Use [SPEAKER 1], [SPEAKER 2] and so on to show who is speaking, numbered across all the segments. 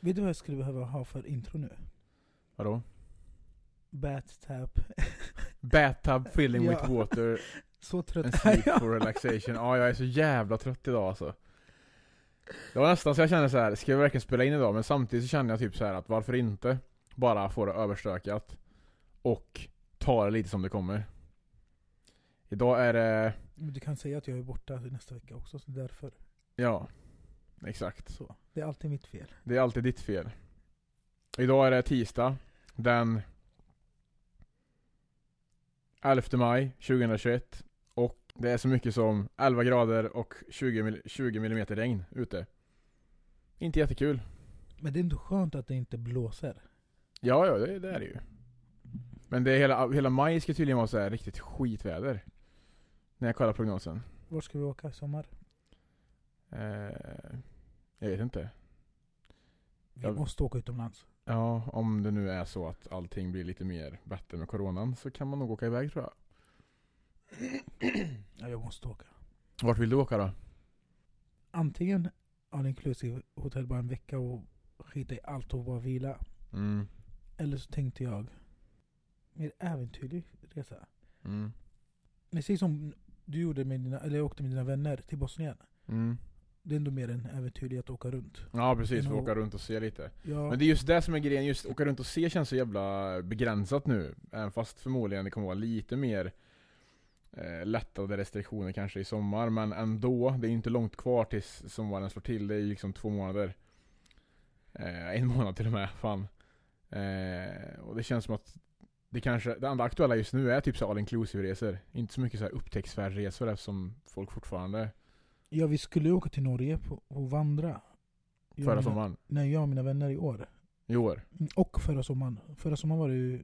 [SPEAKER 1] Vet du vad jag skulle behöva ha för intro nu?
[SPEAKER 2] Vadå?
[SPEAKER 1] Bat tap.
[SPEAKER 2] Bathtub filling with
[SPEAKER 1] Ja.
[SPEAKER 2] water
[SPEAKER 1] Så
[SPEAKER 2] and
[SPEAKER 1] trött är
[SPEAKER 2] sleep for
[SPEAKER 1] jag.
[SPEAKER 2] relaxation. Ja, jag är så jävla trött idag alltså. Det var nästan så jag kände så här. ska jag verkligen spela in idag? Men samtidigt så kände jag typ så här att varför inte? Bara få det överstökat. Och ta det lite som det kommer. Idag är det,
[SPEAKER 1] Men Du kan säga att jag är borta nästa vecka också, så därför.
[SPEAKER 2] ja. Exakt.
[SPEAKER 1] Så. Det är alltid mitt fel.
[SPEAKER 2] Det är alltid ditt fel. Idag är det tisdag den 11 maj 2021 och det är så mycket som 11 grader och 20, mil- 20 mm regn ute. Inte jättekul.
[SPEAKER 1] Men det är ändå skönt att det inte blåser.
[SPEAKER 2] Ja, ja, det, det är det ju. Men det är hela, hela maj ska tydligen vara så här riktigt skitväder. När jag kollar prognosen.
[SPEAKER 1] Var ska vi åka i sommar?
[SPEAKER 2] Eh, jag vet inte.
[SPEAKER 1] Vi
[SPEAKER 2] Jag-
[SPEAKER 1] måste åka utomlands.
[SPEAKER 2] Ja, om det nu är så att allting blir lite mer bättre med coronan så kan man nog åka iväg tror jag.
[SPEAKER 1] Ja, jag måste åka.
[SPEAKER 2] Vart vill du åka då?
[SPEAKER 1] Antingen all inclusive hotell bara en vecka och skita i allt och bara vila.
[SPEAKER 2] Mm.
[SPEAKER 1] Eller så tänkte jag, mer äventyrlig resa.
[SPEAKER 2] Mm.
[SPEAKER 1] Precis som du gjorde med dina, eller jag åkte med dina vänner till Bosnien.
[SPEAKER 2] Mm.
[SPEAKER 1] Det är ändå mer en äventyrlig att åka runt.
[SPEAKER 2] Ja precis,
[SPEAKER 1] Men
[SPEAKER 2] få
[SPEAKER 1] och-
[SPEAKER 2] åka runt och se lite.
[SPEAKER 1] Ja,
[SPEAKER 2] Men det är just det som är grejen, just åka runt och se känns så jävla begränsat nu. Även fast förmodligen det kommer vara lite mer eh, lättade restriktioner kanske i sommar. Men ändå, det är ju inte långt kvar tills sommaren slår till. Det är ju liksom två månader. Eh, en månad till och med, fan. Eh, och det känns som att det kanske, det enda aktuella just nu är typ så all inclusive resor. Inte så mycket så här upptäcktsfärdresor eftersom folk fortfarande,
[SPEAKER 1] ja, vi skulle ju åka till Norge på, och vandra. Jag och
[SPEAKER 2] förra
[SPEAKER 1] mina-
[SPEAKER 2] sommaren,
[SPEAKER 1] Nej, jag och mina vänner i år.
[SPEAKER 2] i år.
[SPEAKER 1] Mm, Och förra sommaren. Förra sommaren var det ju,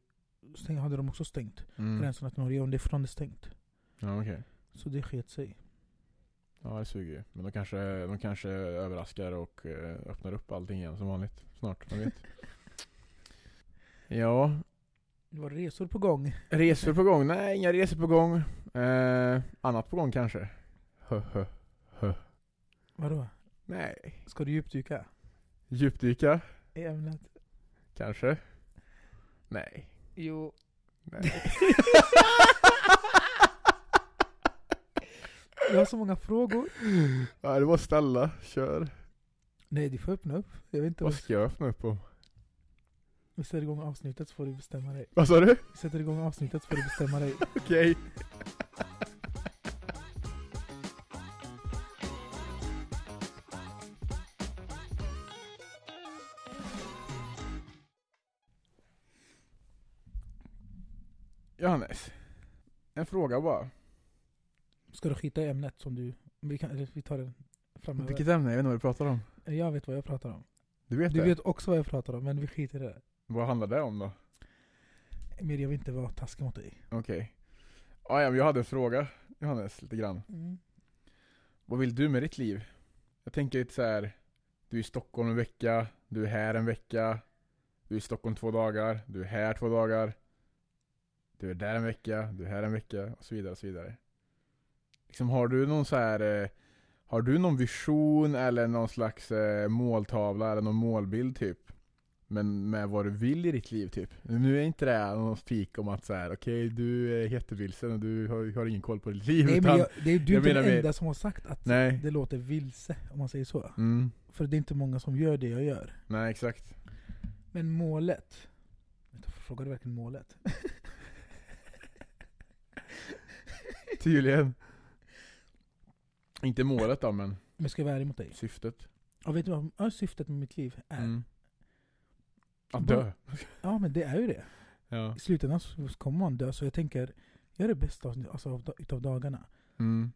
[SPEAKER 1] stäng, hade de också stängt
[SPEAKER 2] Mm.
[SPEAKER 1] gränserna till Norge. Och det är fortfarande stängt.
[SPEAKER 2] Ja, okej.
[SPEAKER 1] Så det sket sig.
[SPEAKER 2] Ja det suger ju. Men de kanske, de kanske överraskar och eh, öppnar upp allting igen som vanligt snart, man vet. ja,
[SPEAKER 1] Det var resor på gång.
[SPEAKER 2] resor på gång? Nej, inga resor på gång. Eh, annat på gång kanske? Hö, hö, hö.
[SPEAKER 1] Vadå?
[SPEAKER 2] Nej.
[SPEAKER 1] Ska du djupdyka?
[SPEAKER 2] Djupdyka?
[SPEAKER 1] I ämnet?
[SPEAKER 2] Kanske? Nej.
[SPEAKER 1] Jo.
[SPEAKER 2] Nej.
[SPEAKER 1] Jag har så många frågor.
[SPEAKER 2] ja, det var ställa, kör.
[SPEAKER 1] Nej, du får öppna upp. Jag vet inte.
[SPEAKER 2] Vad
[SPEAKER 1] Vad...
[SPEAKER 2] ska jag öppna upp om?
[SPEAKER 1] Vi sätter igång avsnittet så får du bestämma dig.
[SPEAKER 2] Vad sa du?
[SPEAKER 1] Vi sätter igång avsnittet så får du bestämma dig.
[SPEAKER 2] Okej. Johannes, en fråga bara.
[SPEAKER 1] Ska du skita i ämnet som du... Vi, kan, eller vi tar den framöver.
[SPEAKER 2] ämne? Jag vet inte vad du pratar om.
[SPEAKER 1] Jag vet vad jag pratar om.
[SPEAKER 2] Du vet
[SPEAKER 1] Du
[SPEAKER 2] det?
[SPEAKER 1] vet också vad jag pratar om, men vi skiter i det.
[SPEAKER 2] Vad handlar det om då?
[SPEAKER 1] Men jag vill inte vara taskig mot dig.
[SPEAKER 2] Okej. Ah, ja, men jag hade en fråga, Johannes, lite grann. Vad vill du med ditt liv? Jag tänker lite så här. Du är i Stockholm en vecka, du är här en vecka, du är i Stockholm två dagar, du är här två dagar, du är där en vecka, du är här en vecka och så vidare och så vidare. Liksom har du någon så här eh, har du någon vision eller någon slags eh, måltavla eller någon målbild typ? Men med vad du vill i ditt liv typ. Nu är inte det här någon fik om att så här, okej du är jättevilsen och du har, har ingen koll på ditt liv.
[SPEAKER 1] Nej,
[SPEAKER 2] utan-
[SPEAKER 1] men jag, det är du
[SPEAKER 2] jag
[SPEAKER 1] inte
[SPEAKER 2] menar
[SPEAKER 1] den
[SPEAKER 2] mer-
[SPEAKER 1] enda som har sagt att
[SPEAKER 2] Nej.
[SPEAKER 1] det låter vilse, om man säger så.
[SPEAKER 2] Mm.
[SPEAKER 1] För det är inte många som gör det jag gör.
[SPEAKER 2] Nej exakt.
[SPEAKER 1] Men målet. Vänta, Frågar du verkligen målet?
[SPEAKER 2] Tydligen. Inte målet då, men
[SPEAKER 1] Men ska jag vara ärlig mot dig?
[SPEAKER 2] syftet.
[SPEAKER 1] Ja, vet du vad ja, syftet med mitt liv är?
[SPEAKER 2] Mm. Att dö.
[SPEAKER 1] Ja, men det är ju det.
[SPEAKER 2] Ja.
[SPEAKER 1] I slutändan så kommer man dö, så jag tänker, gör det bästa av, alltså, av, da- utav dagarna.
[SPEAKER 2] Mm.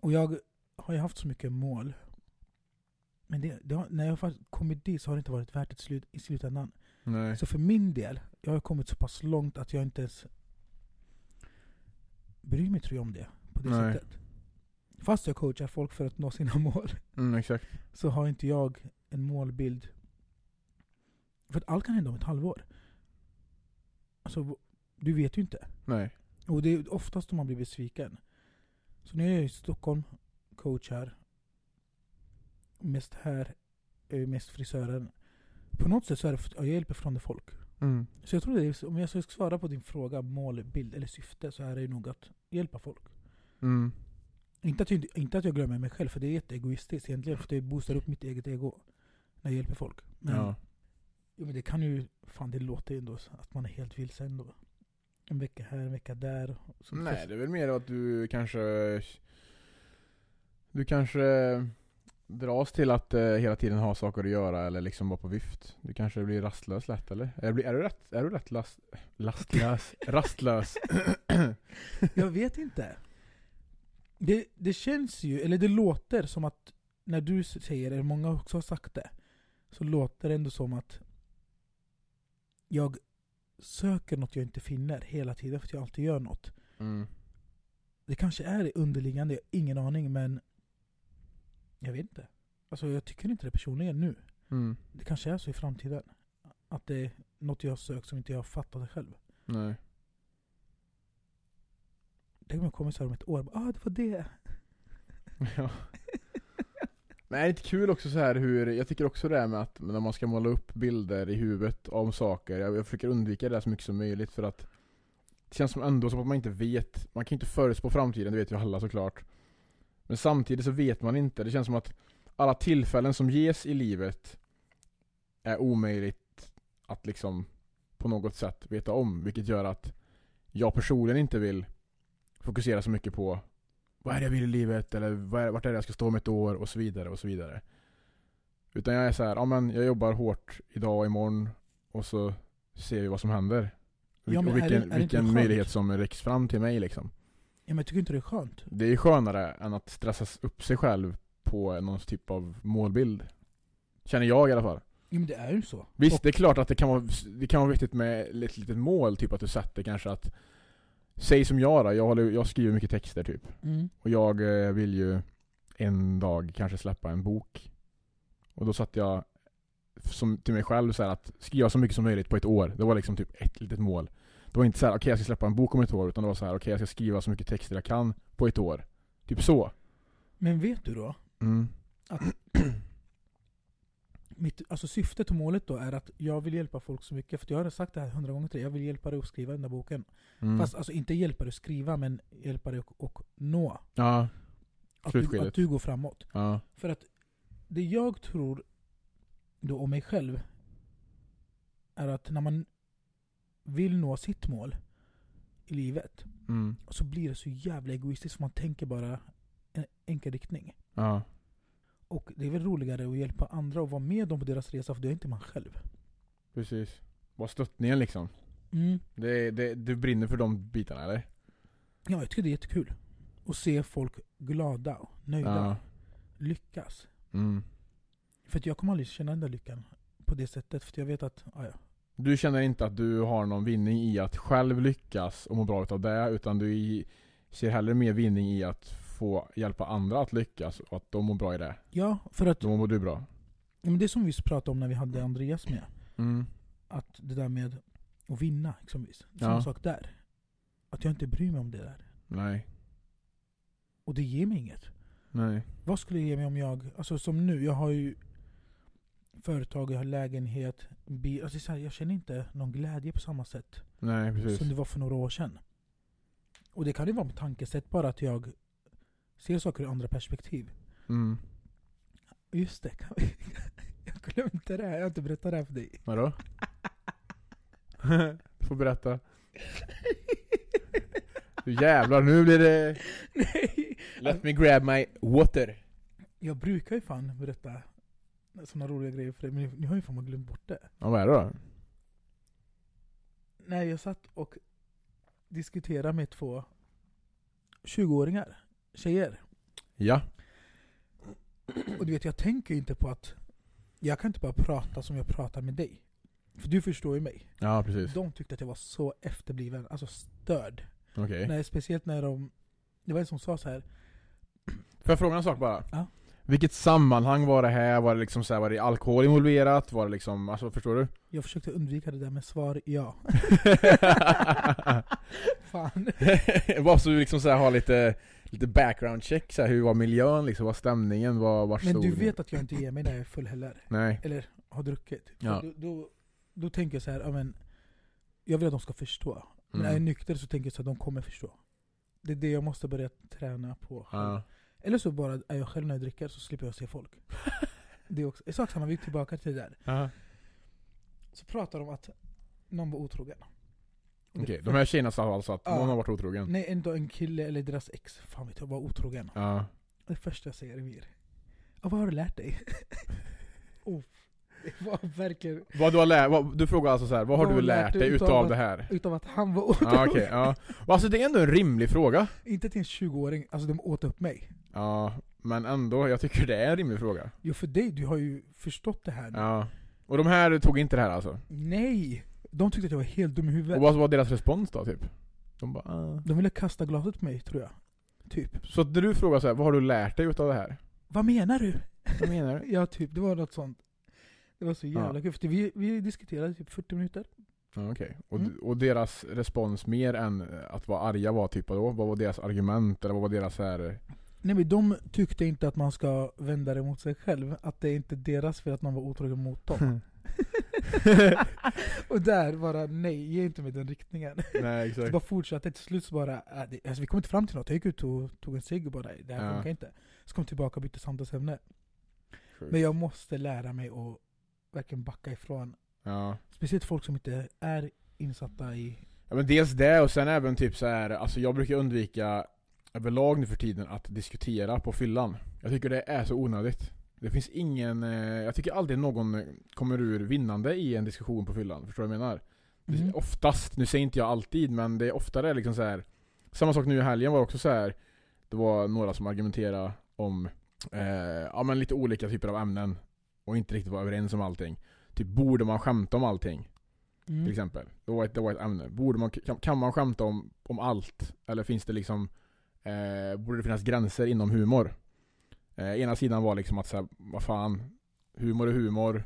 [SPEAKER 1] Och jag har ju haft så mycket mål. Men det, det har, när jag har kommit dit så har det inte varit värt det slut, i slutändan.
[SPEAKER 2] Nej.
[SPEAKER 1] Så för min del, jag har kommit så pass långt att jag inte ens bryr mig tror jag om det på det
[SPEAKER 2] Nej.
[SPEAKER 1] sättet. Fast jag coachar folk för att nå sina mål,
[SPEAKER 2] Mm, exakt.
[SPEAKER 1] så har inte jag en målbild. För att allt kan hända om ett halvår. Alltså, du vet ju inte.
[SPEAKER 2] Nej.
[SPEAKER 1] Och det är oftast då man blir besviken. Så nu är jag i Stockholm, coachar. Mest här, eh, mest frisören. På något sätt så är det, jag hjälper från det folk.
[SPEAKER 2] Mm.
[SPEAKER 1] Så jag tror det är, om jag ska svara på din fråga, mål, bild eller syfte, så är det nog att hjälpa folk.
[SPEAKER 2] Mm.
[SPEAKER 1] Inte att, jag, inte- inte att jag glömmer mig själv, för det är jätteegoistiskt egentligen, för det boostar upp mitt eget ego. När jag hjälper folk. Men,
[SPEAKER 2] Ja.
[SPEAKER 1] jo, men det kan ju, fan det låter ju ändå så att man är helt vilse ändå. En vecka här, en vecka där. och så-
[SPEAKER 2] Nej, det är väl mer att du kanske... Du kanske dras till att eh, hela tiden ha saker att göra eller liksom vara på vift. Du kanske blir rastlös lätt eller? Är, blir- är du rätt, är du lätt last, lastlös? rastlös?
[SPEAKER 1] Jag vet inte. Det, det känns ju, eller det låter som att när du säger det, många också har sagt det, så låter det ändå som att jag söker något jag inte finner hela tiden för att jag alltid gör något.
[SPEAKER 2] Mm.
[SPEAKER 1] Det kanske är underliggande, jag har ingen aning men jag vet inte. Alltså jag tycker inte det personligen nu.
[SPEAKER 2] Mm.
[SPEAKER 1] Det kanske är så i framtiden. Att det är något jag har sökt som inte jag har fattat själv.
[SPEAKER 2] Nej.
[SPEAKER 1] Tänk om jag kommer så här om ett år, bara, ah det var det.
[SPEAKER 2] Ja. Men är det inte kul också så här hur, jag tycker också det här med att när man ska måla upp bilder i huvudet om saker, jag, jag försöker undvika det där så mycket som möjligt för att det känns som ändå som att man inte vet, man kan ju inte förutspå framtiden, det vet ju alla såklart. Men samtidigt så vet man inte, det känns som att alla tillfällen som ges i livet är omöjligt att liksom på något sätt veta om, vilket gör att jag personligen inte vill fokusera så mycket på vad är det jag vill i livet? Eller vad är, vart är det jag ska stå om ett år? Och så vidare och så vidare. Utan jag är så här, ja men jag jobbar hårt idag och imorgon och så ser vi vad som händer.
[SPEAKER 1] Ja,
[SPEAKER 2] och
[SPEAKER 1] men är det-
[SPEAKER 2] vilken,
[SPEAKER 1] är det inte
[SPEAKER 2] vilken
[SPEAKER 1] skönt?
[SPEAKER 2] möjlighet som räcks fram till mig liksom.
[SPEAKER 1] Ja men jag tycker inte det är skönt.
[SPEAKER 2] Det är ju skönare än att stressas upp sig själv på någon typ av målbild. Känner jag i alla fall.
[SPEAKER 1] Jo men det är ju så.
[SPEAKER 2] Visst,
[SPEAKER 1] Och-
[SPEAKER 2] det är klart att det kan vara, det kan vara viktigt med ett litet, litet mål, typ att du sätter kanske att Säg som jag då, jag, håller, jag skriver mycket texter typ.
[SPEAKER 1] Mm.
[SPEAKER 2] Och jag eh, vill ju en dag kanske släppa en bok. Och då satt jag som, till mig själv så här att skriva så mycket som möjligt på ett år. Det var liksom typ ett litet mål. Det var inte så här, okej jag ska släppa en bok om ett år, utan det var så här, okej jag ska skriva så mycket texter jag kan på ett år. Typ så.
[SPEAKER 1] Men vet du då?
[SPEAKER 2] Mm.
[SPEAKER 1] Mitt, alltså syftet och målet då är att jag vill hjälpa folk så mycket, för jag har sagt det här hundra gånger till dig, jag vill hjälpa dig att skriva den där boken.
[SPEAKER 2] Mm.
[SPEAKER 1] Fast alltså inte hjälpa dig att skriva, men hjälpa dig att, att nå.
[SPEAKER 2] Ja,
[SPEAKER 1] Att du,
[SPEAKER 2] Slutskedet.
[SPEAKER 1] att du går framåt.
[SPEAKER 2] ja.
[SPEAKER 1] För att det jag tror då om mig själv, är att när man vill nå sitt mål i livet,
[SPEAKER 2] Mm.
[SPEAKER 1] så blir det så jävla egoistiskt, för man tänker bara en enkel riktning.
[SPEAKER 2] Ja.
[SPEAKER 1] Och det är väl roligare att hjälpa andra och vara med dem på deras resa, för det är inte man själv.
[SPEAKER 2] Precis. Bara stöttningen liksom. Det, det, du brinner för de bitarna eller?
[SPEAKER 1] Ja, jag tycker det är jättekul. Att se folk glada och nöjda.
[SPEAKER 2] Ja.
[SPEAKER 1] Lyckas.
[SPEAKER 2] Mm.
[SPEAKER 1] För att jag kommer aldrig känna den där lyckan på det sättet, för att jag vet att, ah, ja, ja.
[SPEAKER 2] Du känner inte att du har någon vinning i att själv lyckas och må bra utav det, utan du i, ser hellre mer vinning i att få hjälpa andra att lyckas och att de mår bra i det.
[SPEAKER 1] ja för att
[SPEAKER 2] Då mår du bra.
[SPEAKER 1] ja, men det är som vi pratade om när vi hade Andreas med.
[SPEAKER 2] Mm.
[SPEAKER 1] Att det där med att vinna, exempelvis. Samma
[SPEAKER 2] Ja.
[SPEAKER 1] sak där. Att jag inte bryr mig om det där.
[SPEAKER 2] Nej.
[SPEAKER 1] Och det ger mig inget.
[SPEAKER 2] Nej.
[SPEAKER 1] Vad skulle det ge mig om jag, alltså som nu, jag har ju företag, jag har lägenhet, bil. Alltså det är så här, jag känner inte någon glädje på samma sätt.
[SPEAKER 2] Nej,
[SPEAKER 1] som
[SPEAKER 2] precis.
[SPEAKER 1] det var för några år sedan. Och det kan ju vara med tankesätt bara att jag ser saker ur andra perspektiv.
[SPEAKER 2] Mm.
[SPEAKER 1] Just det, kan vi, jag glömde det här, jag har inte berättat det här för dig.
[SPEAKER 2] Vadå? du får berätta. Du jävlar, nu blir det...
[SPEAKER 1] Nej!
[SPEAKER 2] Let me grab my water.
[SPEAKER 1] Jag brukar ju fan berätta såna roliga grejer för dig, men ni- ni har ju fan glömt bort det.
[SPEAKER 2] Ja, vad är det då?
[SPEAKER 1] När jag satt och diskuterade med två 20-åringar, tjejer.
[SPEAKER 2] Ja.
[SPEAKER 1] Och du vet, jag tänker ju inte på att jag kan inte bara prata som jag pratar med dig. För du förstår ju mig.
[SPEAKER 2] Ja, precis.
[SPEAKER 1] De tyckte att jag var så efterbliven, alltså störd.
[SPEAKER 2] Okej.
[SPEAKER 1] Nej, speciellt när de... Det var en som sa så här.
[SPEAKER 2] Får jag fråga en sak bara?
[SPEAKER 1] Ja.
[SPEAKER 2] Vilket sammanhang var det här? Var det liksom så här, var det alkohol involverat? Var det liksom, alltså förstår du?
[SPEAKER 1] Jag försökte undvika det där med svar ja. Fan.
[SPEAKER 2] Bara så du liksom så här, har lite, lite background check, så här, hur var miljön liksom? Vad var stämningen? Vad var
[SPEAKER 1] Men du vet att jag inte ger mig när jag är full heller.
[SPEAKER 2] Nej.
[SPEAKER 1] Eller har druckit. För
[SPEAKER 2] Ja.
[SPEAKER 1] Då, då, då tänker jag så här, ja, men, jag vill att de ska förstå. Men när jag är
[SPEAKER 2] Mm.
[SPEAKER 1] nykter så tänker jag så att de kommer förstå. Det är det jag måste börja träna på. själv.
[SPEAKER 2] Ja.
[SPEAKER 1] Eller så bara är jag själv när jag dricker så slipper jag se folk. det är också, sak samma, vi är tillbaka till det där. Så pratar de om att någon var otrogen.
[SPEAKER 2] Okej, de här tjejerna sa alltså att
[SPEAKER 1] Ja.
[SPEAKER 2] någon har varit otrogen?
[SPEAKER 1] Nej, en, en kille eller deras ex, fan vet jag, var otrogen.
[SPEAKER 2] Ja.
[SPEAKER 1] Det första jag säger är Emir. Ja, vad har du lärt dig? oh, det var verkligen
[SPEAKER 2] Vad du har lärt, vad, du frågar alltså så här, vad har du lärt dig utav, det här?
[SPEAKER 1] utav att han var otrogen.
[SPEAKER 2] Ja, Ah, okej, ja. Och Alltså det är ändå en rimlig fråga.
[SPEAKER 1] Inte till en 20-åring, alltså de åt upp mig.
[SPEAKER 2] Ja, men ändå, jag tycker det är en rimlig fråga.
[SPEAKER 1] Jo för dig, du har ju förstått det här nu.
[SPEAKER 2] Ja. Och de här tog inte det här alltså?
[SPEAKER 1] Nej! De tyckte att jag var helt dum i
[SPEAKER 2] Och
[SPEAKER 1] huvudet.
[SPEAKER 2] vad var deras respons då typ? De bara ah.
[SPEAKER 1] De ville kasta glaset på mig tror jag. Typ.
[SPEAKER 2] Så när du frågar så här, vad har du lärt dig utav det här?
[SPEAKER 1] Vad menar du?
[SPEAKER 2] Vad menar du?
[SPEAKER 1] Ja typ, det var något sånt. Det var så jävla kul. För vi, vi diskuterade typ 40 minuter.
[SPEAKER 2] Ja, okej. och,
[SPEAKER 1] Mm.
[SPEAKER 2] och deras respons mer än att vara arga var typ då? Vad var deras argument? Eller vad var deras så här...
[SPEAKER 1] Nej men de tyckte inte att man ska vända det mot sig själv. Att det är inte deras fel att man var otrogen mot dem. Och där bara nej, ge inte mig den riktningen.
[SPEAKER 2] Nej
[SPEAKER 1] Så
[SPEAKER 2] exakt.
[SPEAKER 1] bara fortsatte till slut så bara, äh, det, alltså vi kom inte fram till något. Jag gick ut och tog en cigg och bara, det här
[SPEAKER 2] Ja.
[SPEAKER 1] funkar inte. Så kom jag tillbaka och bytte samtalsämne.
[SPEAKER 2] Sjukt.
[SPEAKER 1] Men jag måste lära mig att verkligen backa ifrån.
[SPEAKER 2] Ja.
[SPEAKER 1] Speciellt folk som inte är insatta i...
[SPEAKER 2] Ja men dels det och sen även typ så här, alltså jag brukar undvika överlag nu för tiden att diskutera på fyllan. Jag tycker det är så onödigt. Det finns ingen, eh, jag tycker aldrig någon eh, kommer ur vinnande i en diskussion på fyllan. Förstår du vad jag menar? Det-
[SPEAKER 1] Mhm.
[SPEAKER 2] Oftast, nu säger inte jag alltid, men det är oftare liksom så här. Samma sak nu i helgen var också så här. Det var några som argumenterade om eh, ja, men lite olika typer av ämnen och inte riktigt var överens om allting. Typ borde man skämta om allting?
[SPEAKER 1] Mm.
[SPEAKER 2] till exempel. Det var ett, det var ett ämne. Borde man, kan, kan man skämta om, om allt? Eller finns det liksom eh, Borde det finnas gränser inom humor? Eh, ena sidan var liksom att så här, vad fan, humor är humor.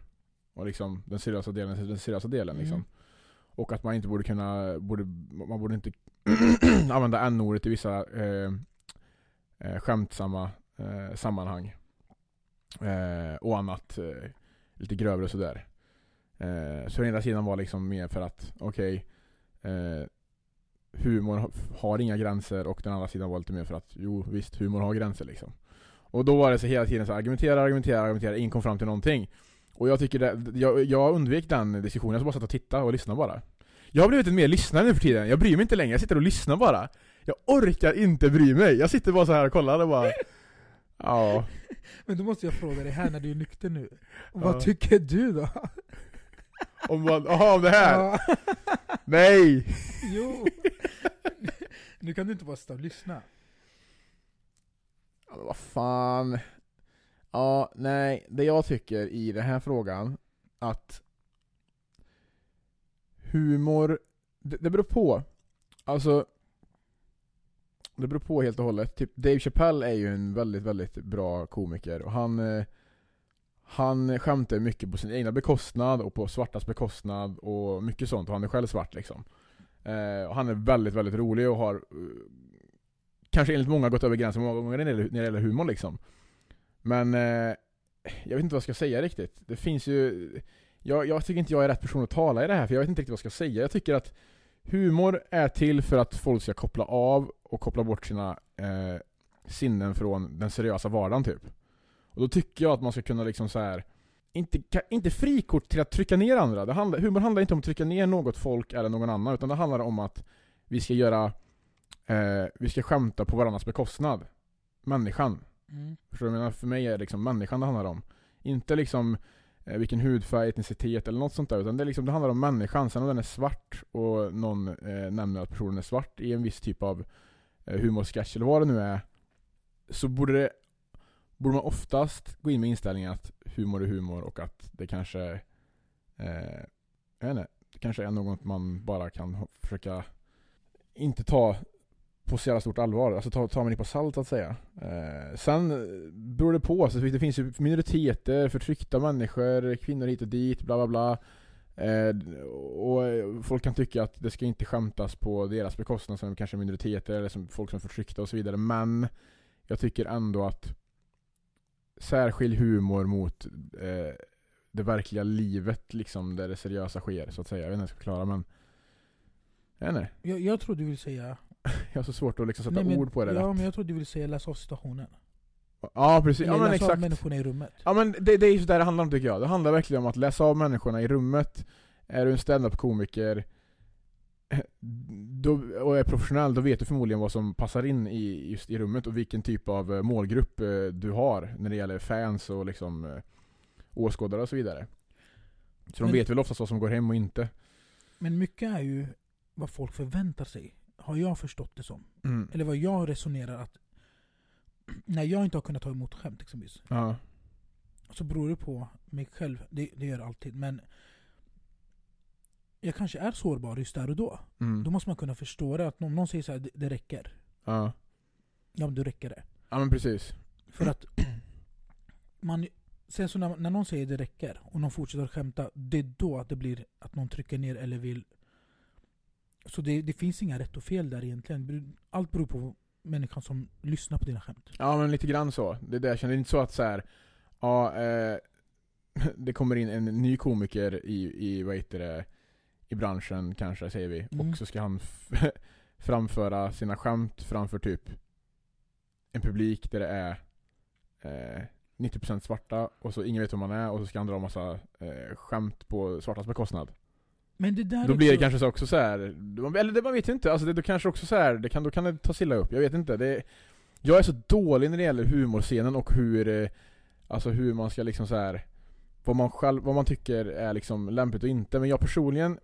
[SPEAKER 2] Och liksom den seriösa delen är den seriösa delen
[SPEAKER 1] Mm.
[SPEAKER 2] liksom. Och att man inte borde kunna, borde, man borde inte använda n-ordet i vissa eh, eh, skämtsamma eh, sammanhang. Eh, och annat eh, lite grövre och sådär. Eh, så den ena sidan var liksom mer för att, okej, eh, humor ha- har inga gränser och den andra sidan var lite mer för att, jo visst, humor har gränser liksom. Och då var det så hela tiden så argumentera, argumentera, argumentera, ingen kom fram till någonting. Och jag tycker det, jag, jag undvek den diskussionen, jag bara satt och tittade och lyssnade bara. Jag har blivit en mer lyssnare nu för tiden, jag bryr mig inte längre, jag sitter och lyssnar bara. Jag orkar inte bry mig, jag sitter bara så här och kollar och bara, ja.
[SPEAKER 1] Men då måste jag fråga dig här när du är nykter nu.
[SPEAKER 2] Ja.
[SPEAKER 1] Vad tycker du då?
[SPEAKER 2] Om man, aha, om det här?
[SPEAKER 1] Ja,
[SPEAKER 2] Nej!
[SPEAKER 1] jo. nu kan du inte bara stå och lyssna.
[SPEAKER 2] Ja, men vad fan. Ja, nej. Det jag tycker i den här frågan, att humor, det, det beror på. Alltså, det beror på helt och hållet. Typ Dave Chappelle är ju en väldigt, väldigt bra komiker och han eh, han skämtar mycket på sin egna bekostnad och på svartas bekostnad och mycket sånt och han är själv svart liksom. Eh, och han är väldigt, väldigt rolig och har eh, kanske enligt många gått över gränsen många gånger när det gäller- när det gäller humor liksom. Men eh, jag vet inte vad jag ska säga riktigt. Det finns ju... Jag, jag tycker inte jag är rätt person att tala i det här för jag vet inte riktigt vad jag ska säga. Jag tycker att humor är till för att folk ska koppla av och koppla bort sina eh, sinnen från den seriösa vardagen typ. Och då tycker jag att man ska kunna liksom så här inte, ka- inte frikort till att trycka ner andra. Det handlar, humor handlar inte om att trycka ner något folk eller någon annan utan det handlar om att vi ska göra Eh, vi ska skämta på varandras bekostnad. Människan.
[SPEAKER 1] Mm.
[SPEAKER 2] Förstår du vad jag menar? För mig är det liksom människan det handlar om. Inte liksom eh, vilken hudfärg, etnicitet eller något sånt där. Utan det, är liksom, det handlar om människan. Sen om den är svart och någon eh, nämner att personen är svart i en viss typ av eh, humorsketch eller vad det nu är. Så borde, det, borde man oftast gå in med inställningen att humor är humor och att det kanske eh, jag vet inte, det kanske är något man bara kan ho- försöka inte ta på så jävla stort allvar, alltså ta, ta med nypa salt så att säga. Eh, sen beror det på, alltså, det finns ju minoriteter, förtryckta människor, kvinnor hit och dit, bla bla bla. Eh, och eh, folk kan tycka att det ska inte skämtas på deras bekostnad som kanske minoriteter eller som folk som är förtryckta och så vidare. Men jag tycker ändå att särskilj humor mot eh, det verkliga livet liksom, där det seriösa sker så att säga. Jag vet inte hur jag ska klara men... Jag vet inte,
[SPEAKER 1] Jag, jag tror du vill säga...
[SPEAKER 2] jag har så svårt att liksom sätta
[SPEAKER 1] Nej, men-
[SPEAKER 2] ord på det.
[SPEAKER 1] Ja,
[SPEAKER 2] Ja,
[SPEAKER 1] men jag tror du vill säga läsa av situationen.
[SPEAKER 2] ja precis,
[SPEAKER 1] Eller
[SPEAKER 2] ja men
[SPEAKER 1] läsa av
[SPEAKER 2] exakt.
[SPEAKER 1] människorna i rummet.
[SPEAKER 2] Ja men det, det är ju så där det handlar om tycker jag. Det handlar verkligen om att läsa av människorna i rummet. Är du en standup-komiker då, och är professionell, då vet du förmodligen vad som passar in i, just i rummet och vilken typ av eh, målgrupp eh, du har när det gäller fans och liksom eh, åskådare och så vidare. Så de
[SPEAKER 1] Men-
[SPEAKER 2] vet väl oftast vad som går hem och inte.
[SPEAKER 1] Men mycket är ju vad folk förväntar sig. Har jag förstått det som.
[SPEAKER 2] Mm.
[SPEAKER 1] Eller vad jag resonerar att... När jag inte har kunnat ta emot skämt exempelvis.
[SPEAKER 2] Ja.
[SPEAKER 1] Så beror det på mig själv. Det, det gör det alltid. Men... Jag kanske är sårbar just där och då. Då
[SPEAKER 2] Mm.
[SPEAKER 1] måste man kunna förstå det. Att om någon säger så här, "Det- det räcker.
[SPEAKER 2] Ja.
[SPEAKER 1] Ja men då räcker det.
[SPEAKER 2] ja men precis.
[SPEAKER 1] För att man, sen så när, när någon säger det räcker och någon fortsätter skämta, det är då att det blir att någon trycker ner eller vill... Så det, det finns inga rätt och fel där egentligen. Allt beror på människan som lyssnar på dina skämt.
[SPEAKER 2] Ja men lite grann så. Det där kändes inte så att så här. Ja, eh, det kommer in en ny komiker i, i, vad heter det, i branschen kanske säger vi.
[SPEAKER 1] Mm.
[SPEAKER 2] Och så ska han f- framföra sina skämt framför typ en publik där det är eh, 90% svarta och så ingen vet vem man är och så ska han dra massa eh, skämt på svartas bekostnad.
[SPEAKER 1] Men det där
[SPEAKER 2] Då blir det
[SPEAKER 1] också-
[SPEAKER 2] kanske så också så här. eller det, man vet ju inte, alltså det, då kanske också så här, det kan, då kan det ta sig illa upp, jag vet inte. Det, jag är så dålig när det gäller humorscenen och hur, eh, alltså hur man ska liksom så här vad man själv, vad man tycker är liksom lämpligt och inte, men jag personligen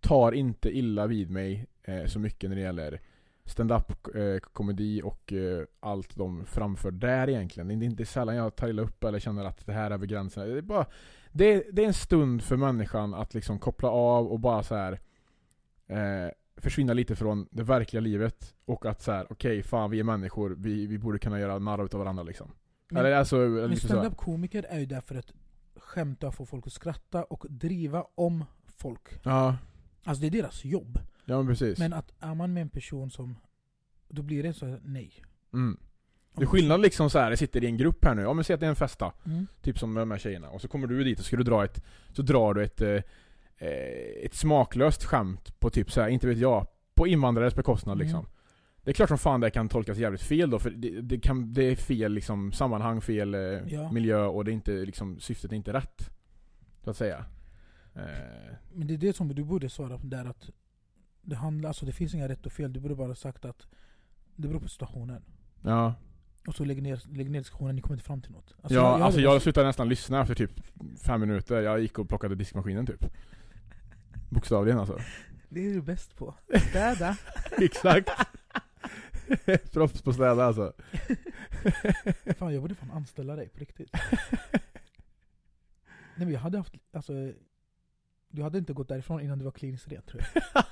[SPEAKER 2] tar inte illa vid mig eh, så mycket när det gäller stand-up eh, komedi och eh, allt de framför där egentligen. Det är inte sällan jag tar illa upp eller känner att det här är över gränserna. Det är bara det är, det är en stund för människan att liksom koppla av och bara så här eh, försvinna lite från det verkliga livet och att så här, okej, fan vi är människor, vi, vi borde kunna göra narr av varandra liksom.
[SPEAKER 1] Men-
[SPEAKER 2] Eller alltså,
[SPEAKER 1] Men
[SPEAKER 2] lite så.
[SPEAKER 1] stand-up komiker är ju där för att skämta, få folk att skratta och driva om folk.
[SPEAKER 2] Ja,
[SPEAKER 1] Alltså det är deras jobb.
[SPEAKER 2] ja men precis.
[SPEAKER 1] Men att är man med en person som... Då blir det så här, nej.
[SPEAKER 2] Mm. Det är skillnad liksom så här, jag sitter i en grupp här nu, ja men säg att det är en festa,
[SPEAKER 1] Mm.
[SPEAKER 2] typ som de här tjejerna, och så kommer du dit och ska du dra ett, så drar du ett, eh, eh, ett smaklöst skämt på typ så här, inte vet jag, på invandrares bekostnad
[SPEAKER 1] Mm.
[SPEAKER 2] liksom. Det är klart som fan det kan tolkas jävligt fel då, för det, det, kan, det är fel liksom, sammanhang, fel eh,
[SPEAKER 1] Ja.
[SPEAKER 2] miljö och det är inte, liksom, syftet är inte rätt. Så att säga. Eh,
[SPEAKER 1] Men det är det som du borde svara på där att det, handlar, alltså det finns inga rätt och fel. Du borde bara sagt att det beror på situationen.
[SPEAKER 2] ja,
[SPEAKER 1] Och så lägg ner, lägg ner diskussionen, ni kommer inte fram till något.
[SPEAKER 2] ja jag, alltså
[SPEAKER 1] hade bara-
[SPEAKER 2] jag slutade nästan lyssna efter typ fem minuter, jag gick och plockade diskmaskinen typ. Bokstavligen alltså.
[SPEAKER 1] Det är du bäst på. Städa.
[SPEAKER 2] Exakt. Proffs på städa alltså.
[SPEAKER 1] fan, jag borde fan anställa dig på riktigt. Nej men jag hade haft, alltså Du hade inte gått därifrån innan du var kliniskt ren tror jag.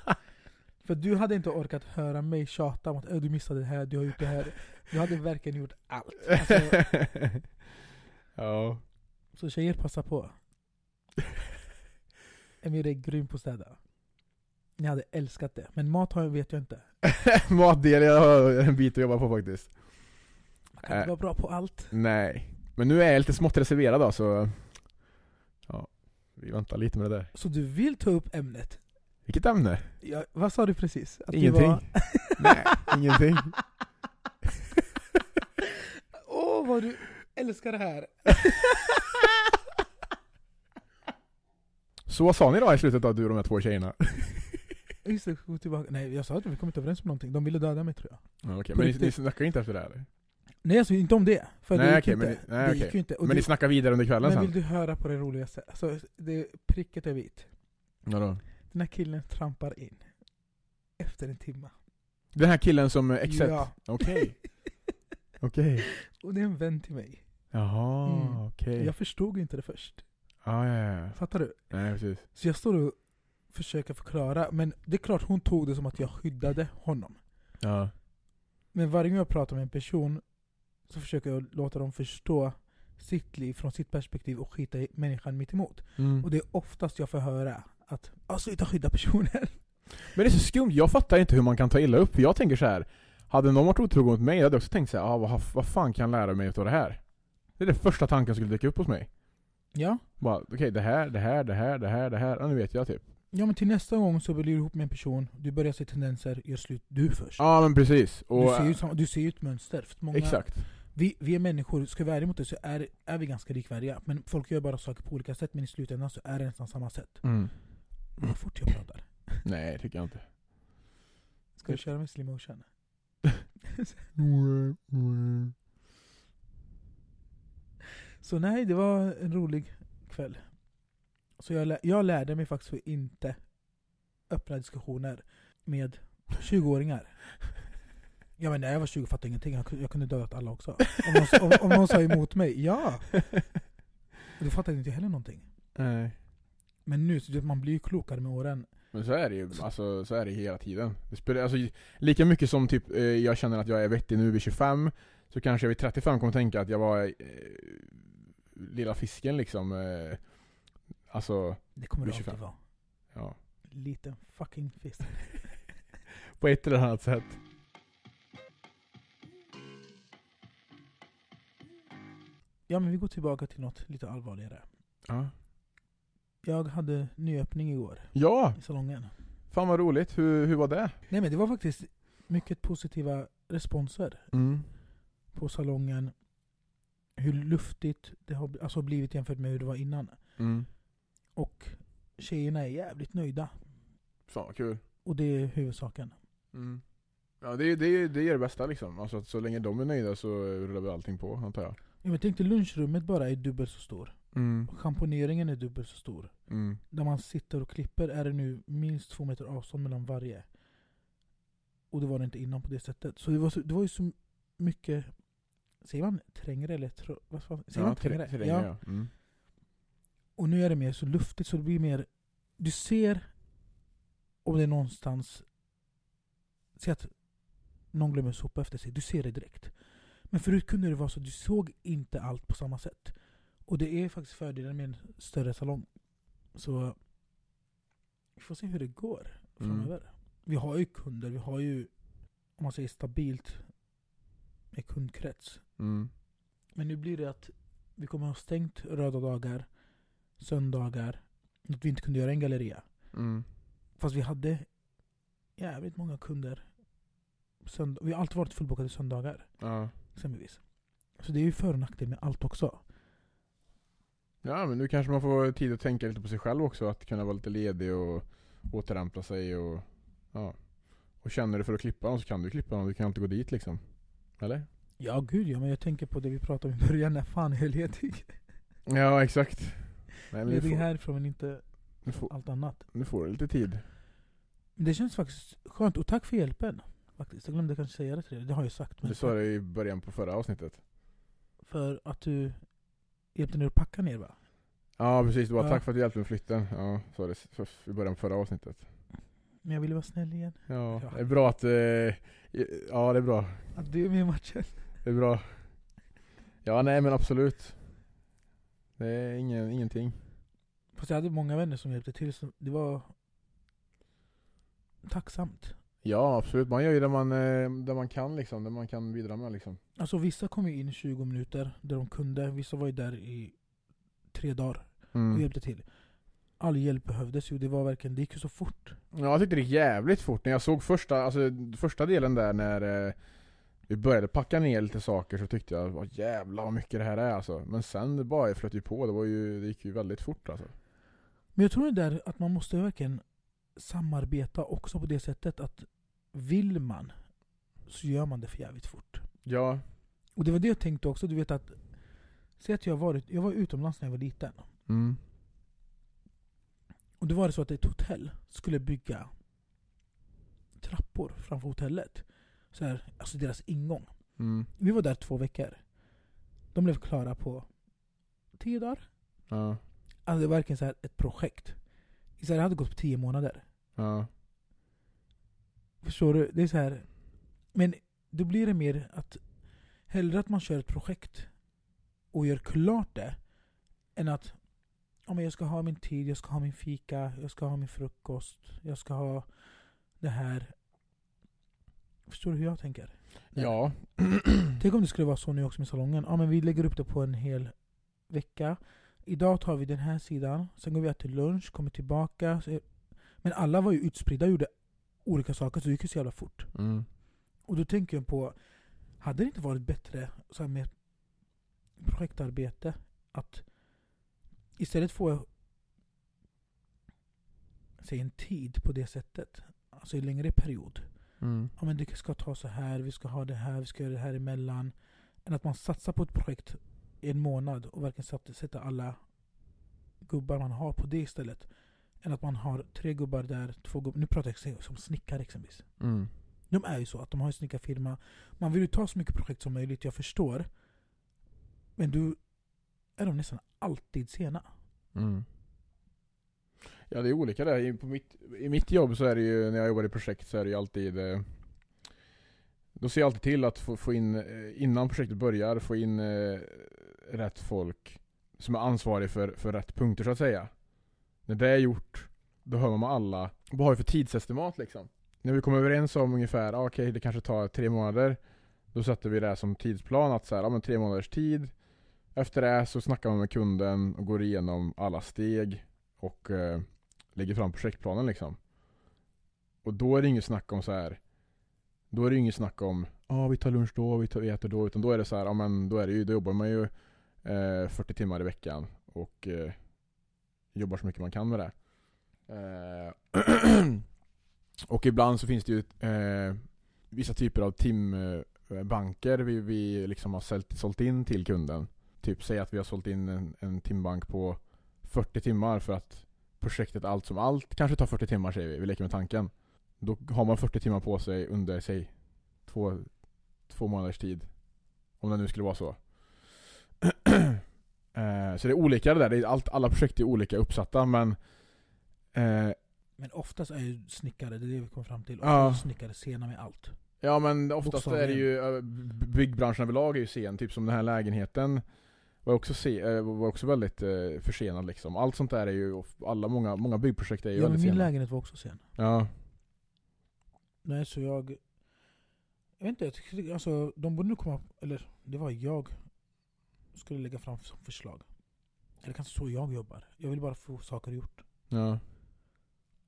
[SPEAKER 1] För du hade inte orkat höra mig tjata om att "Ö, du missade det här, du har gjort det här. Du hade verkligen gjort allt. Alltså,
[SPEAKER 2] ja.
[SPEAKER 1] så tjejer, passa på. Emir är grym på att städa. Ni hade älskat det. Men mat har jag, vet jag inte.
[SPEAKER 2] Matdel, jag har en bit att jobba på faktiskt.
[SPEAKER 1] Man kan inte
[SPEAKER 2] Äh.
[SPEAKER 1] vara bra på allt.
[SPEAKER 2] Nej. Men nu är jag lite smått reserverad då, så... Ja. Vi väntar lite med det där.
[SPEAKER 1] Så du vill ta upp ämnet?
[SPEAKER 2] Vilket ämne?
[SPEAKER 1] Ja, vad sa du precis? Att du
[SPEAKER 2] Ingenting.
[SPEAKER 1] var-
[SPEAKER 2] Nej, ingenting.
[SPEAKER 1] Åh vad du älskar det här!
[SPEAKER 2] Så vad sa ni då i slutet av du och de här två tjejerna?
[SPEAKER 1] Just det, gå tillbaka. Nej jag sa att vi kom inte överens om någonting, de ville döda mig tror jag.
[SPEAKER 2] Ja, okej,
[SPEAKER 1] På
[SPEAKER 2] Men ni,
[SPEAKER 1] riktigt.
[SPEAKER 2] ni snackar ju inte efter det här? eller?
[SPEAKER 1] Nej alltså inte om det, för
[SPEAKER 2] Nej,
[SPEAKER 1] det gick
[SPEAKER 2] okej,
[SPEAKER 1] ju inte.
[SPEAKER 2] men ni- nej,
[SPEAKER 1] det gick
[SPEAKER 2] okej.
[SPEAKER 1] ju inte. Och
[SPEAKER 2] Men ni
[SPEAKER 1] det,
[SPEAKER 2] snackar vidare under kvällen
[SPEAKER 1] men
[SPEAKER 2] sen?
[SPEAKER 1] vill du höra på det roligaste? Alltså, det, pricket är vitt.
[SPEAKER 2] Ja, då.
[SPEAKER 1] Den här killen trampar in. Efter en timme.
[SPEAKER 2] Den här killen som exet?
[SPEAKER 1] Ja.
[SPEAKER 2] Okej. Okej.
[SPEAKER 1] Och det är en vän till mig.
[SPEAKER 2] Jaha,
[SPEAKER 1] Mm.
[SPEAKER 2] okej.
[SPEAKER 1] Jag förstod ju inte det först.
[SPEAKER 2] Ah, ja, ja, ja.
[SPEAKER 1] Fattar du?
[SPEAKER 2] Nej, precis.
[SPEAKER 1] Så jag står och försöker förklara, men det är klart hon tog det som att jag skyddade honom.
[SPEAKER 2] Ja.
[SPEAKER 1] Men varje gång jag pratar med en person så försöker jag låta dem förstå sitt liv från sitt perspektiv och skita i människan mitt emot.
[SPEAKER 2] Mm.
[SPEAKER 1] Och det är oftast jag får höra att "Ah, sluta skydda personer.
[SPEAKER 2] Men det är så skumt, jag fattar inte hur man kan ta illa upp. För jag tänker så här. hade någon varit otrogen mot mig, jag hade jag också tänkt så här, ah, vad, vad fan kan jag lära mig utav det här? Det är det första tanken som skulle dyka upp hos mig.
[SPEAKER 1] Ja,
[SPEAKER 2] Bara, okej det här, det här, det här, det här, det här. Ja, nu vet jag typ.
[SPEAKER 1] Ja men till nästa gång så blir du ihop med en person, du börjar se tendenser, gör slut du först.
[SPEAKER 2] Ja, men precis. Och,
[SPEAKER 1] du, ser ju, sam- du ser ju ett mönster. För många,
[SPEAKER 2] Exakt.
[SPEAKER 1] Vi, vi är människor, ska vi vara ärliga mot det så är, är vi ganska likvärdiga. Men folk gör bara saker på olika sätt, men i slutändan så är det nästan samma sätt.
[SPEAKER 2] Mm.
[SPEAKER 1] Vad fort jag pratar.
[SPEAKER 2] Nej, tycker jag inte.
[SPEAKER 1] Ska du
[SPEAKER 2] Typ.
[SPEAKER 1] köra med slow motion? Så nej, det var en rolig kväll. Så jag, lä- jag lärde mig faktiskt att inte öppna diskussioner med 20-åringar. Ja men när jag var 20 fattade jag ingenting, jag, kunde- jag kunde dödat alla också. Om någon, sa- om, om någon sa emot mig, ja! Då fattade jag inte heller någonting.
[SPEAKER 2] Nej.
[SPEAKER 1] Men nu, så du vet, man blir ju klokare med åren.
[SPEAKER 2] Men så är det ju, alltså, så är det hela tiden. Det spelar, alltså, lika mycket som typ, eh, jag känner att jag är vettig nu vid 25, så kanske jag vid 35 kommer tänka att jag var eh, lilla fisken liksom. Eh, alltså,
[SPEAKER 1] Det kommer det
[SPEAKER 2] Vid 25.
[SPEAKER 1] alltid vara.
[SPEAKER 2] ja.
[SPEAKER 1] Liten fucking fisk.
[SPEAKER 2] På ett eller annat sätt.
[SPEAKER 1] Ja men vi går tillbaka till något lite allvarligare.
[SPEAKER 2] Ja.
[SPEAKER 1] Jag hade nyöppning igår
[SPEAKER 2] ja,
[SPEAKER 1] i salongen.
[SPEAKER 2] fan vad roligt. Hur, hur var det?
[SPEAKER 1] Nej men det var faktiskt mycket positiva responser
[SPEAKER 2] Mm.
[SPEAKER 1] på salongen. Hur luftigt det har bl- alltså blivit jämfört med hur det var innan.
[SPEAKER 2] Mm.
[SPEAKER 1] Och tjejerna är jävligt nöjda.
[SPEAKER 2] Fan vad kul.
[SPEAKER 1] Och det är huvudsaken.
[SPEAKER 2] Mm. Ja, det, det, det är det bästa liksom. Alltså, att så länge de är nöjda så rullar väl allting på, antar jag.
[SPEAKER 1] Ja, men tänk dig lunchrummet bara är dubbelt så stor.
[SPEAKER 2] Mm.
[SPEAKER 1] Schamponeringen är dubbelt så stor.
[SPEAKER 2] Mm.
[SPEAKER 1] Där man sitter och klipper är det nu minst två meter avstånd mellan varje. Och det var det inte innan på det sättet. Så det var, så, det var ju så mycket... Säger man trängre eller tro, vad fan, säger man trängre?
[SPEAKER 2] terräng,
[SPEAKER 1] ja.
[SPEAKER 2] ja. Mm.
[SPEAKER 1] Och nu är det mer så luftigt så det blir mer... Du ser om det är någonstans... Säg att någon glömmer sopa efter sig. Du ser det direkt. Men förut kunde det vara så att du såg inte allt på samma sätt. Och det är faktiskt fördelen med en större salong. Så vi får se hur det går
[SPEAKER 2] Mm.
[SPEAKER 1] framöver. Vi har ju kunder, vi har ju om man säger stabilt med kundkrets.
[SPEAKER 2] Mm.
[SPEAKER 1] Men nu blir det att vi kommer ha stängt röda dagar, söndagar, att vi inte kunde göra en galleria.
[SPEAKER 2] Mm.
[SPEAKER 1] Fast vi hade jävligt många kunder. Sönd- vi har alltid varit fullbokade söndagar,
[SPEAKER 2] Ja.
[SPEAKER 1] exempelvis. Så det är ju för och nackdel med allt också.
[SPEAKER 2] Ja men nu kanske man får tid att tänka lite på sig själv också, att kunna vara lite ledig och återhämta sig och ja. Och känner du för att klippa dem så kan du klippa dem, du kan alltid gå dit liksom. Eller?
[SPEAKER 1] Ja gud ja, men jag tänker på det vi pratade om i början, när fan är jag ledig?
[SPEAKER 2] Ja exakt. Nej, men nu,
[SPEAKER 1] Ledig
[SPEAKER 2] får,
[SPEAKER 1] härifrån men inte
[SPEAKER 2] nu, får,
[SPEAKER 1] allt annat.
[SPEAKER 2] nu får du lite tid.
[SPEAKER 1] Men det känns faktiskt skönt, och tack för hjälpen. Faktiskt. Jag glömde kanske säga det till dig, det har jag sagt.
[SPEAKER 2] Du sa det i början på förra avsnittet.
[SPEAKER 1] För att du hjälpte ner att packa ner va?
[SPEAKER 2] Ja precis, det var
[SPEAKER 1] Ja.
[SPEAKER 2] tack för att du hjälpte med flytten. Ja, sa det först i början på förra avsnittet.
[SPEAKER 1] Men jag ville vara snäll igen.
[SPEAKER 2] Ja,
[SPEAKER 1] Ja.
[SPEAKER 2] det är bra att... eh, Ja, det är bra.
[SPEAKER 1] Att du är med i matchen.
[SPEAKER 2] Det är bra. Ja, nej men absolut. Det är ingen, ingenting.
[SPEAKER 1] Fast jag hade många vänner som hjälpte till, så det var tacksamt.
[SPEAKER 2] Ja, absolut. Man gör ju det man, eh, det man kan liksom, det man kan bidra med liksom.
[SPEAKER 1] Alltså vissa kom ju in 20 minuter där de kunde, vissa var ju där i tre dagar och
[SPEAKER 2] Mm.
[SPEAKER 1] hjälpte till. All hjälp behövdes ju, det var verkligen, det gick ju så fort.
[SPEAKER 2] Ja, jag tyckte det gick jävligt fort. När jag såg första, alltså, första delen där när eh, vi började packa ner lite saker så tyckte jag vad jävlar vad mycket det här är alltså. Men sen det bara flöt ju på, det, var ju, det gick ju väldigt fort alltså.
[SPEAKER 1] Men jag tror det där att man måste verkligen samarbeta också på det sättet att vill man så gör man det för jävligt fort.
[SPEAKER 2] Ja,
[SPEAKER 1] Och det var det jag tänkte också, du vet att Säg att jag varit, jag var utomlands när jag var liten.
[SPEAKER 2] mm.
[SPEAKER 1] Och då var det så att ett hotell skulle bygga trappor framför hotellet. Så här, alltså deras ingång.
[SPEAKER 2] Mm.
[SPEAKER 1] Vi var där två veckor. De blev klara på tio dagar.
[SPEAKER 2] Ja,
[SPEAKER 1] Alltså det var verkligen så här ett projekt. I Sverige hade det gått på tio månader.
[SPEAKER 2] ja.
[SPEAKER 1] Förstår du? Det är så här. Men då blir det mer att hellre att man kör ett projekt och gör klart det än att ja, men jag ska ha min tid, jag ska ha min fika, jag ska ha min frukost, jag ska ha det här. Förstår du hur jag tänker? Nej.
[SPEAKER 2] Ja. Mm.
[SPEAKER 1] Tänk om det skulle vara så nu också med salongen. Ja men vi lägger upp det på en hel vecka. Idag tar vi den här sidan, sen går vi och äter lunch, kommer tillbaka. Så- Men alla var ju utspridda och gjorde olika saker, så det gick ju så jävla fort.
[SPEAKER 2] Mm.
[SPEAKER 1] Och då tänker jag på, hade det inte varit bättre så här med projektarbete? Att istället få säg en tid på det sättet. Alltså en längre period.
[SPEAKER 2] Mm.
[SPEAKER 1] Ja men det ska ta så här, vi ska ha det här, vi ska göra det här emellan. Än att man satsar på ett projekt i en månad och verkligen satt- sätter alla gubbar man har på det istället. Än att man har tre gubbar där, två gubbar. Nu pratar jag som snickare exempelvis.
[SPEAKER 2] Mm.
[SPEAKER 1] De är ju så att de har en snickarfirma. Man vill ju ta så mycket projekt som möjligt, jag förstår. Men du är de nästan alltid sena.
[SPEAKER 2] Mm. Ja det är olika där. I, på mitt, I mitt jobb så är det ju, när jag jobbar i projekt så är det ju alltid eh, Då ser jag alltid till att få, få in, eh, innan projektet börjar, få in eh, rätt folk som är ansvarig för, för rätt punkter så att säga. När det är gjort, då hör man med alla. Vad har vi för tidsestimat liksom? När vi kommer överens om ungefär, ah, okej det kanske tar tre månader. Då sätter vi det här som tidsplan att så här, ah, men tre månaders tid. Efter det så snackar man med kunden och går igenom alla steg och eh, lägger fram projektplanen liksom. Och då är det inget snack om så här. Då är det inget snack om ja vi tar lunch då, vi, tar, vi äter då. Utan då är det så här, ja men då är det ju, då jobbar man ju eh, 40 timmar i veckan och eh, jobbar så mycket man kan med det. Eh, och ibland så finns det ju eh, vissa typer av timbanker vi, vi liksom har sålt, sålt in till kunden. Typ säg att vi har sålt in en, en timbank på 40 timmar för att projektet allt som allt kanske tar 40 timmar säger vi, vi leker med tanken. Då har man 40 timmar på sig under, säg, två, två månaders tid. Om det nu skulle vara så. Eh, så det är olika det där, det är allt, alla projekt är olika uppsatta men eh,
[SPEAKER 1] Men oftast är ju snickare, det är det vi kom fram till,
[SPEAKER 2] Ja.
[SPEAKER 1] oftast är snickare sena med allt.
[SPEAKER 2] Ja men oftast är det
[SPEAKER 1] Bokstavligen.
[SPEAKER 2] ju, eh, b- byggbranschen överlag är ju sen, typ som den här lägenheten var också, se, eh, var också väldigt eh, försenad liksom. Allt sånt där är ju, alla, många, många byggprojekt är ju
[SPEAKER 1] Ja, men
[SPEAKER 2] väldigt
[SPEAKER 1] min
[SPEAKER 2] sena.
[SPEAKER 1] lägenhet var också sen.
[SPEAKER 2] Ja.
[SPEAKER 1] Nej, så jag... Jag vet inte, jag tycker, alltså, de borde nog komma... Eller det var jag skulle lägga fram som förslag. Eller kanske så jag jobbar. Jag vill bara få saker gjort.
[SPEAKER 2] ja,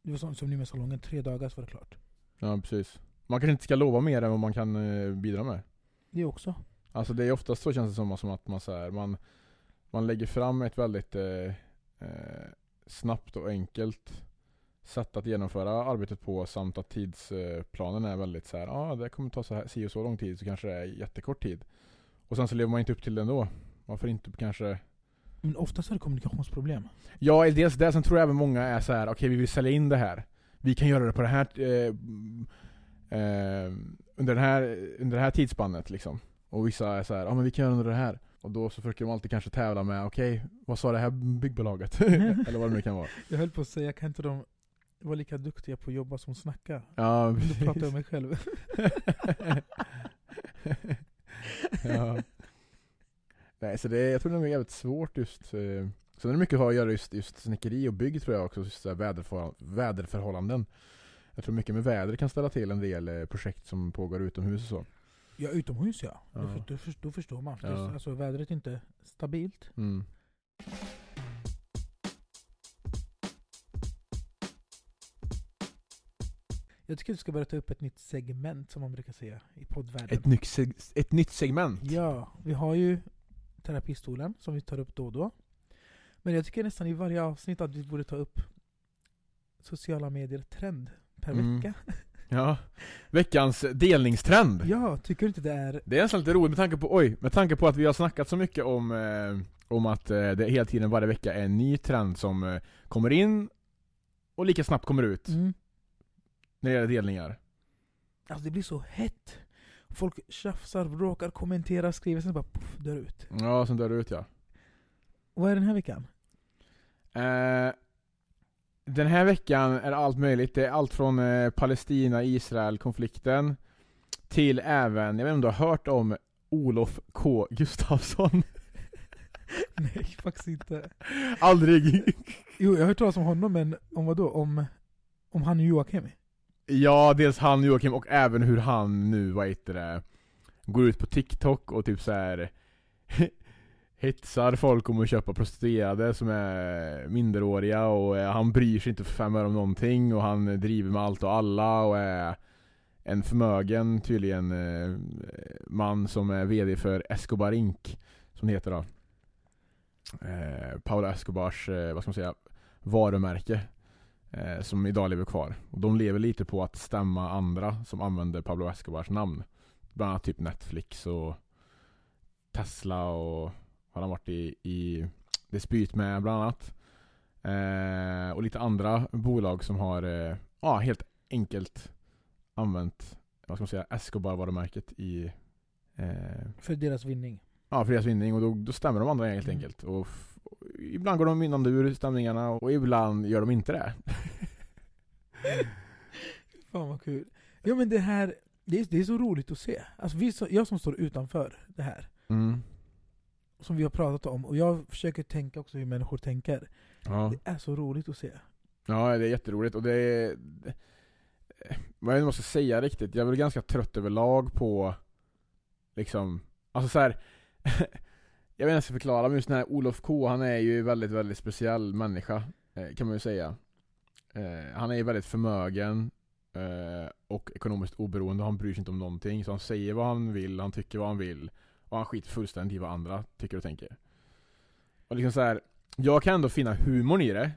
[SPEAKER 1] Det var som, som nu med salongen, tre dagar så var det klart.
[SPEAKER 2] ja precis. Man kanske inte ska lova mer än vad man kan eh, bidra med.
[SPEAKER 1] Det också.
[SPEAKER 2] Alltså det är oftast så känns det som, som att man, så här, man, man lägger fram ett väldigt eh, eh, snabbt och enkelt sätt att genomföra arbetet på samt att tidsplanen är väldigt så här, ja ah, det kommer ta så här, si och så lång tid så kanske det är jättekort tid. Och sen så lever man inte upp till det ändå. Varför inte kanske?
[SPEAKER 1] Men oftast är det kommunikationsproblem.
[SPEAKER 2] Ja, dels det, sen tror jag även många är så här, okej vi vill sälja in det här. Vi kan göra det på det här, eh, eh, under, den här under det här tidsspannet liksom. Och vissa är så här, ja ah, men vi kan göra under det här. Och då så försöker de alltid kanske tävla med, okej vad sa det här byggbolaget? Eller vad det nu kan vara.
[SPEAKER 1] Jag höll på att säga, kan inte de vara lika duktiga på att jobba som snacka?
[SPEAKER 2] Ja,
[SPEAKER 1] Men Då pratar jag
[SPEAKER 2] precis.
[SPEAKER 1] om mig själv.
[SPEAKER 2] ja. Nej, så det, är- jag tror det är jävligt svårt just. Eh, sen är det mycket att ha att göra just, just snickeri och bygg tror jag också, just så här väderförhåll- väderförhållanden. Jag tror mycket med väder kan ställa till en del eh, projekt som pågår utomhus och så.
[SPEAKER 1] Ja, utomhus ja. Då,
[SPEAKER 2] Ja.
[SPEAKER 1] för, då, för, då förstår man.
[SPEAKER 2] Ja.
[SPEAKER 1] Ja. Alltså vädret är inte stabilt.
[SPEAKER 2] Mm.
[SPEAKER 1] Jag tycker du ska börja ta upp ett nytt segment som man brukar säga i poddvärlden.
[SPEAKER 2] Ett, nytt seg- ett nytt segment.
[SPEAKER 1] Ja, vi har ju terapistolen som vi tar upp då och då. Men jag tycker nästan i varje avsnitt att vi borde ta upp sociala medier trend per
[SPEAKER 2] Mm.
[SPEAKER 1] vecka.
[SPEAKER 2] Ja. Veckans delningstrend.
[SPEAKER 1] Ja, tycker du inte det är...
[SPEAKER 2] Det är nästan lite roligt med tanke på, oj, med tanke på att vi har snackat så mycket om, eh, om att eh, det hela tiden varje vecka är en ny trend som eh, kommer in och lika snabbt kommer ut
[SPEAKER 1] Mm.
[SPEAKER 2] när det gäller delningar.
[SPEAKER 1] Alltså det blir så hett. Folk tjafsar, bråkar, kommenterar, skriver, sen bara poff, dör ut.
[SPEAKER 2] Ja, sen dör det ut ja.
[SPEAKER 1] Vad är den här veckan?
[SPEAKER 2] Eh, den här veckan är det allt möjligt. Det är allt från eh, Palestina-Israel-konflikten till även, jag vet inte om du har hört om Olof K Gustafsson?
[SPEAKER 1] Nej, faktiskt inte.
[SPEAKER 2] Aldrig!
[SPEAKER 1] Jo, jag har hört talas om honom, men om vad då? Om, om han och Joakim?
[SPEAKER 2] Ja, dels han Joakim och även hur han nu, vad heter det, går ut på TikTok och typ så här. hetsar folk om att köpa prostituerade som är minderåriga och eh, han bryr sig inte för fem öre om någonting och han eh, driver med allt och alla och är en förmögen tydligen eh, man som är VD för Escobar Inc. Som det heter då. Eh, Paula Escobars, eh, vad ska man säga, varumärke. Eh, som idag lever kvar. Och de lever lite på att stämma andra som använder Pablo Escobars namn. Bland annat typ Netflix och Tesla och har han varit i, i dispyt med bland annat. Eh, och lite andra bolag som har eh, ja, helt enkelt använt vad ska man säga, Escobar-varumärket i eh,
[SPEAKER 1] För deras vinning.
[SPEAKER 2] Ja, för deras vinning och då, då stämmer de andra helt
[SPEAKER 1] Mm.
[SPEAKER 2] enkelt. Och f- och ibland går de vinnande ur stämningarna och ibland gör de inte det.
[SPEAKER 1] Fan vad kul. Ja men det här, det är, det är så roligt att se. Alltså vi, som- jag som står utanför det här,
[SPEAKER 2] Mm.
[SPEAKER 1] som vi har pratat om, och jag försöker tänka också hur människor tänker.
[SPEAKER 2] Ja.
[SPEAKER 1] Det är så roligt att se.
[SPEAKER 2] ja, det är jätteroligt och det är... det- Vad jag måste säga riktigt, jag är väl ganska trött överlag på liksom, alltså så här. jag vet inte hur jag ska förklara, men just den här Olof K, han är ju väldigt, väldigt speciell människa, eh, kan man ju säga. Eh, Han är ju väldigt förmögen eh, och ekonomiskt oberoende, han bryr sig inte om någonting. Så han säger vad han vill, han tycker vad han vill. Och han skiter fullständigt i vad andra tycker och tänker. Och liksom så här, jag kan ändå finna humorn i det.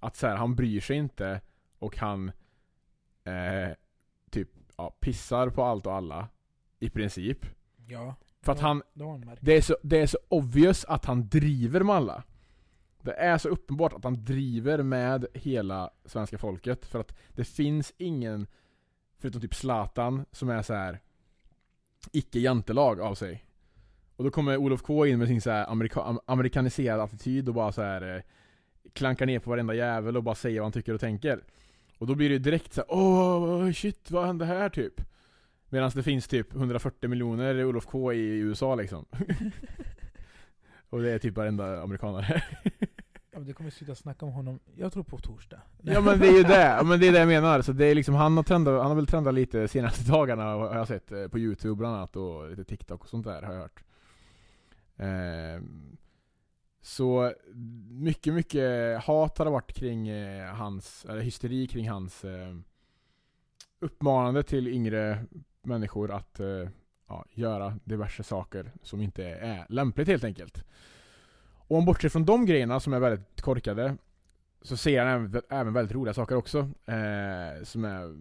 [SPEAKER 2] Att så här, han bryr sig inte och han eh, typ ja, pissar på allt och alla. I princip.
[SPEAKER 1] Ja.
[SPEAKER 2] För att han,
[SPEAKER 1] Det har en märkt.
[SPEAKER 2] det är, så, det är så obvious att han driver med alla. Det är så uppenbart att han driver med hela svenska folket. För att det finns ingen, förutom typ Zlatan, som är så här icke-jantelag av sig. Och då kommer Olof K in med sin så här amerika, am- amerikaniserade attityd och bara så här eh, klankar ner på varenda jävel och bara säger vad han tycker och tänker. Och då blir det ju direkt så här, åh shit vad hände här typ? Medan det finns typ 140 miljoner Olof K i USA liksom. Och det är typ varenda amerikanare.
[SPEAKER 1] Ja, men det kommer sluta snacka om honom, jag tror på torsdag.
[SPEAKER 2] ja men det är ju det, Ja, men det är det jag menar. Så det är liksom, han, har trendat, han har väl trendat lite senaste dagarna har jag sett eh, på youtube bland annat och lite tiktok och sånt där har jag hört. Ehm, så mycket, mycket hat har det varit kring eh, hans, eller hysteri kring hans eh, uppmanande till yngre människor att eh, ja, göra diverse saker som inte är lämpligt helt enkelt. Och om bortser från de grejerna som är väldigt korkade så ser han även, även väldigt roliga saker också. Eh, som är,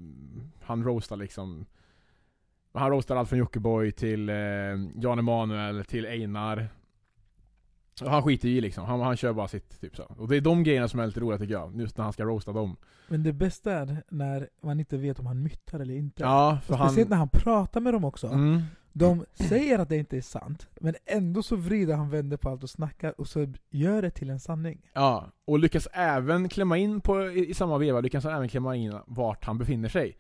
[SPEAKER 2] han roastar liksom han roastar allt från Jockiboi till eh, Jan Emanuel till Einar. Och han skiter ju i liksom. Han, han kör bara sitt typ så. Och det är de grejerna som är lite roliga tycker jag. Just när han ska roasta dem.
[SPEAKER 1] Men det bästa är när man inte vet om han myttar eller inte.
[SPEAKER 2] Ja, för
[SPEAKER 1] Och Speciellt när han pratar med dem också.
[SPEAKER 2] Mm.
[SPEAKER 1] De säger att det inte är sant, men ändå så vrider han vänder på allt och snackar och så gör det till en sanning.
[SPEAKER 2] Ja, och lyckas även klämma in på, i, i samma veva, lyckas han även klämma in vart han befinner sig.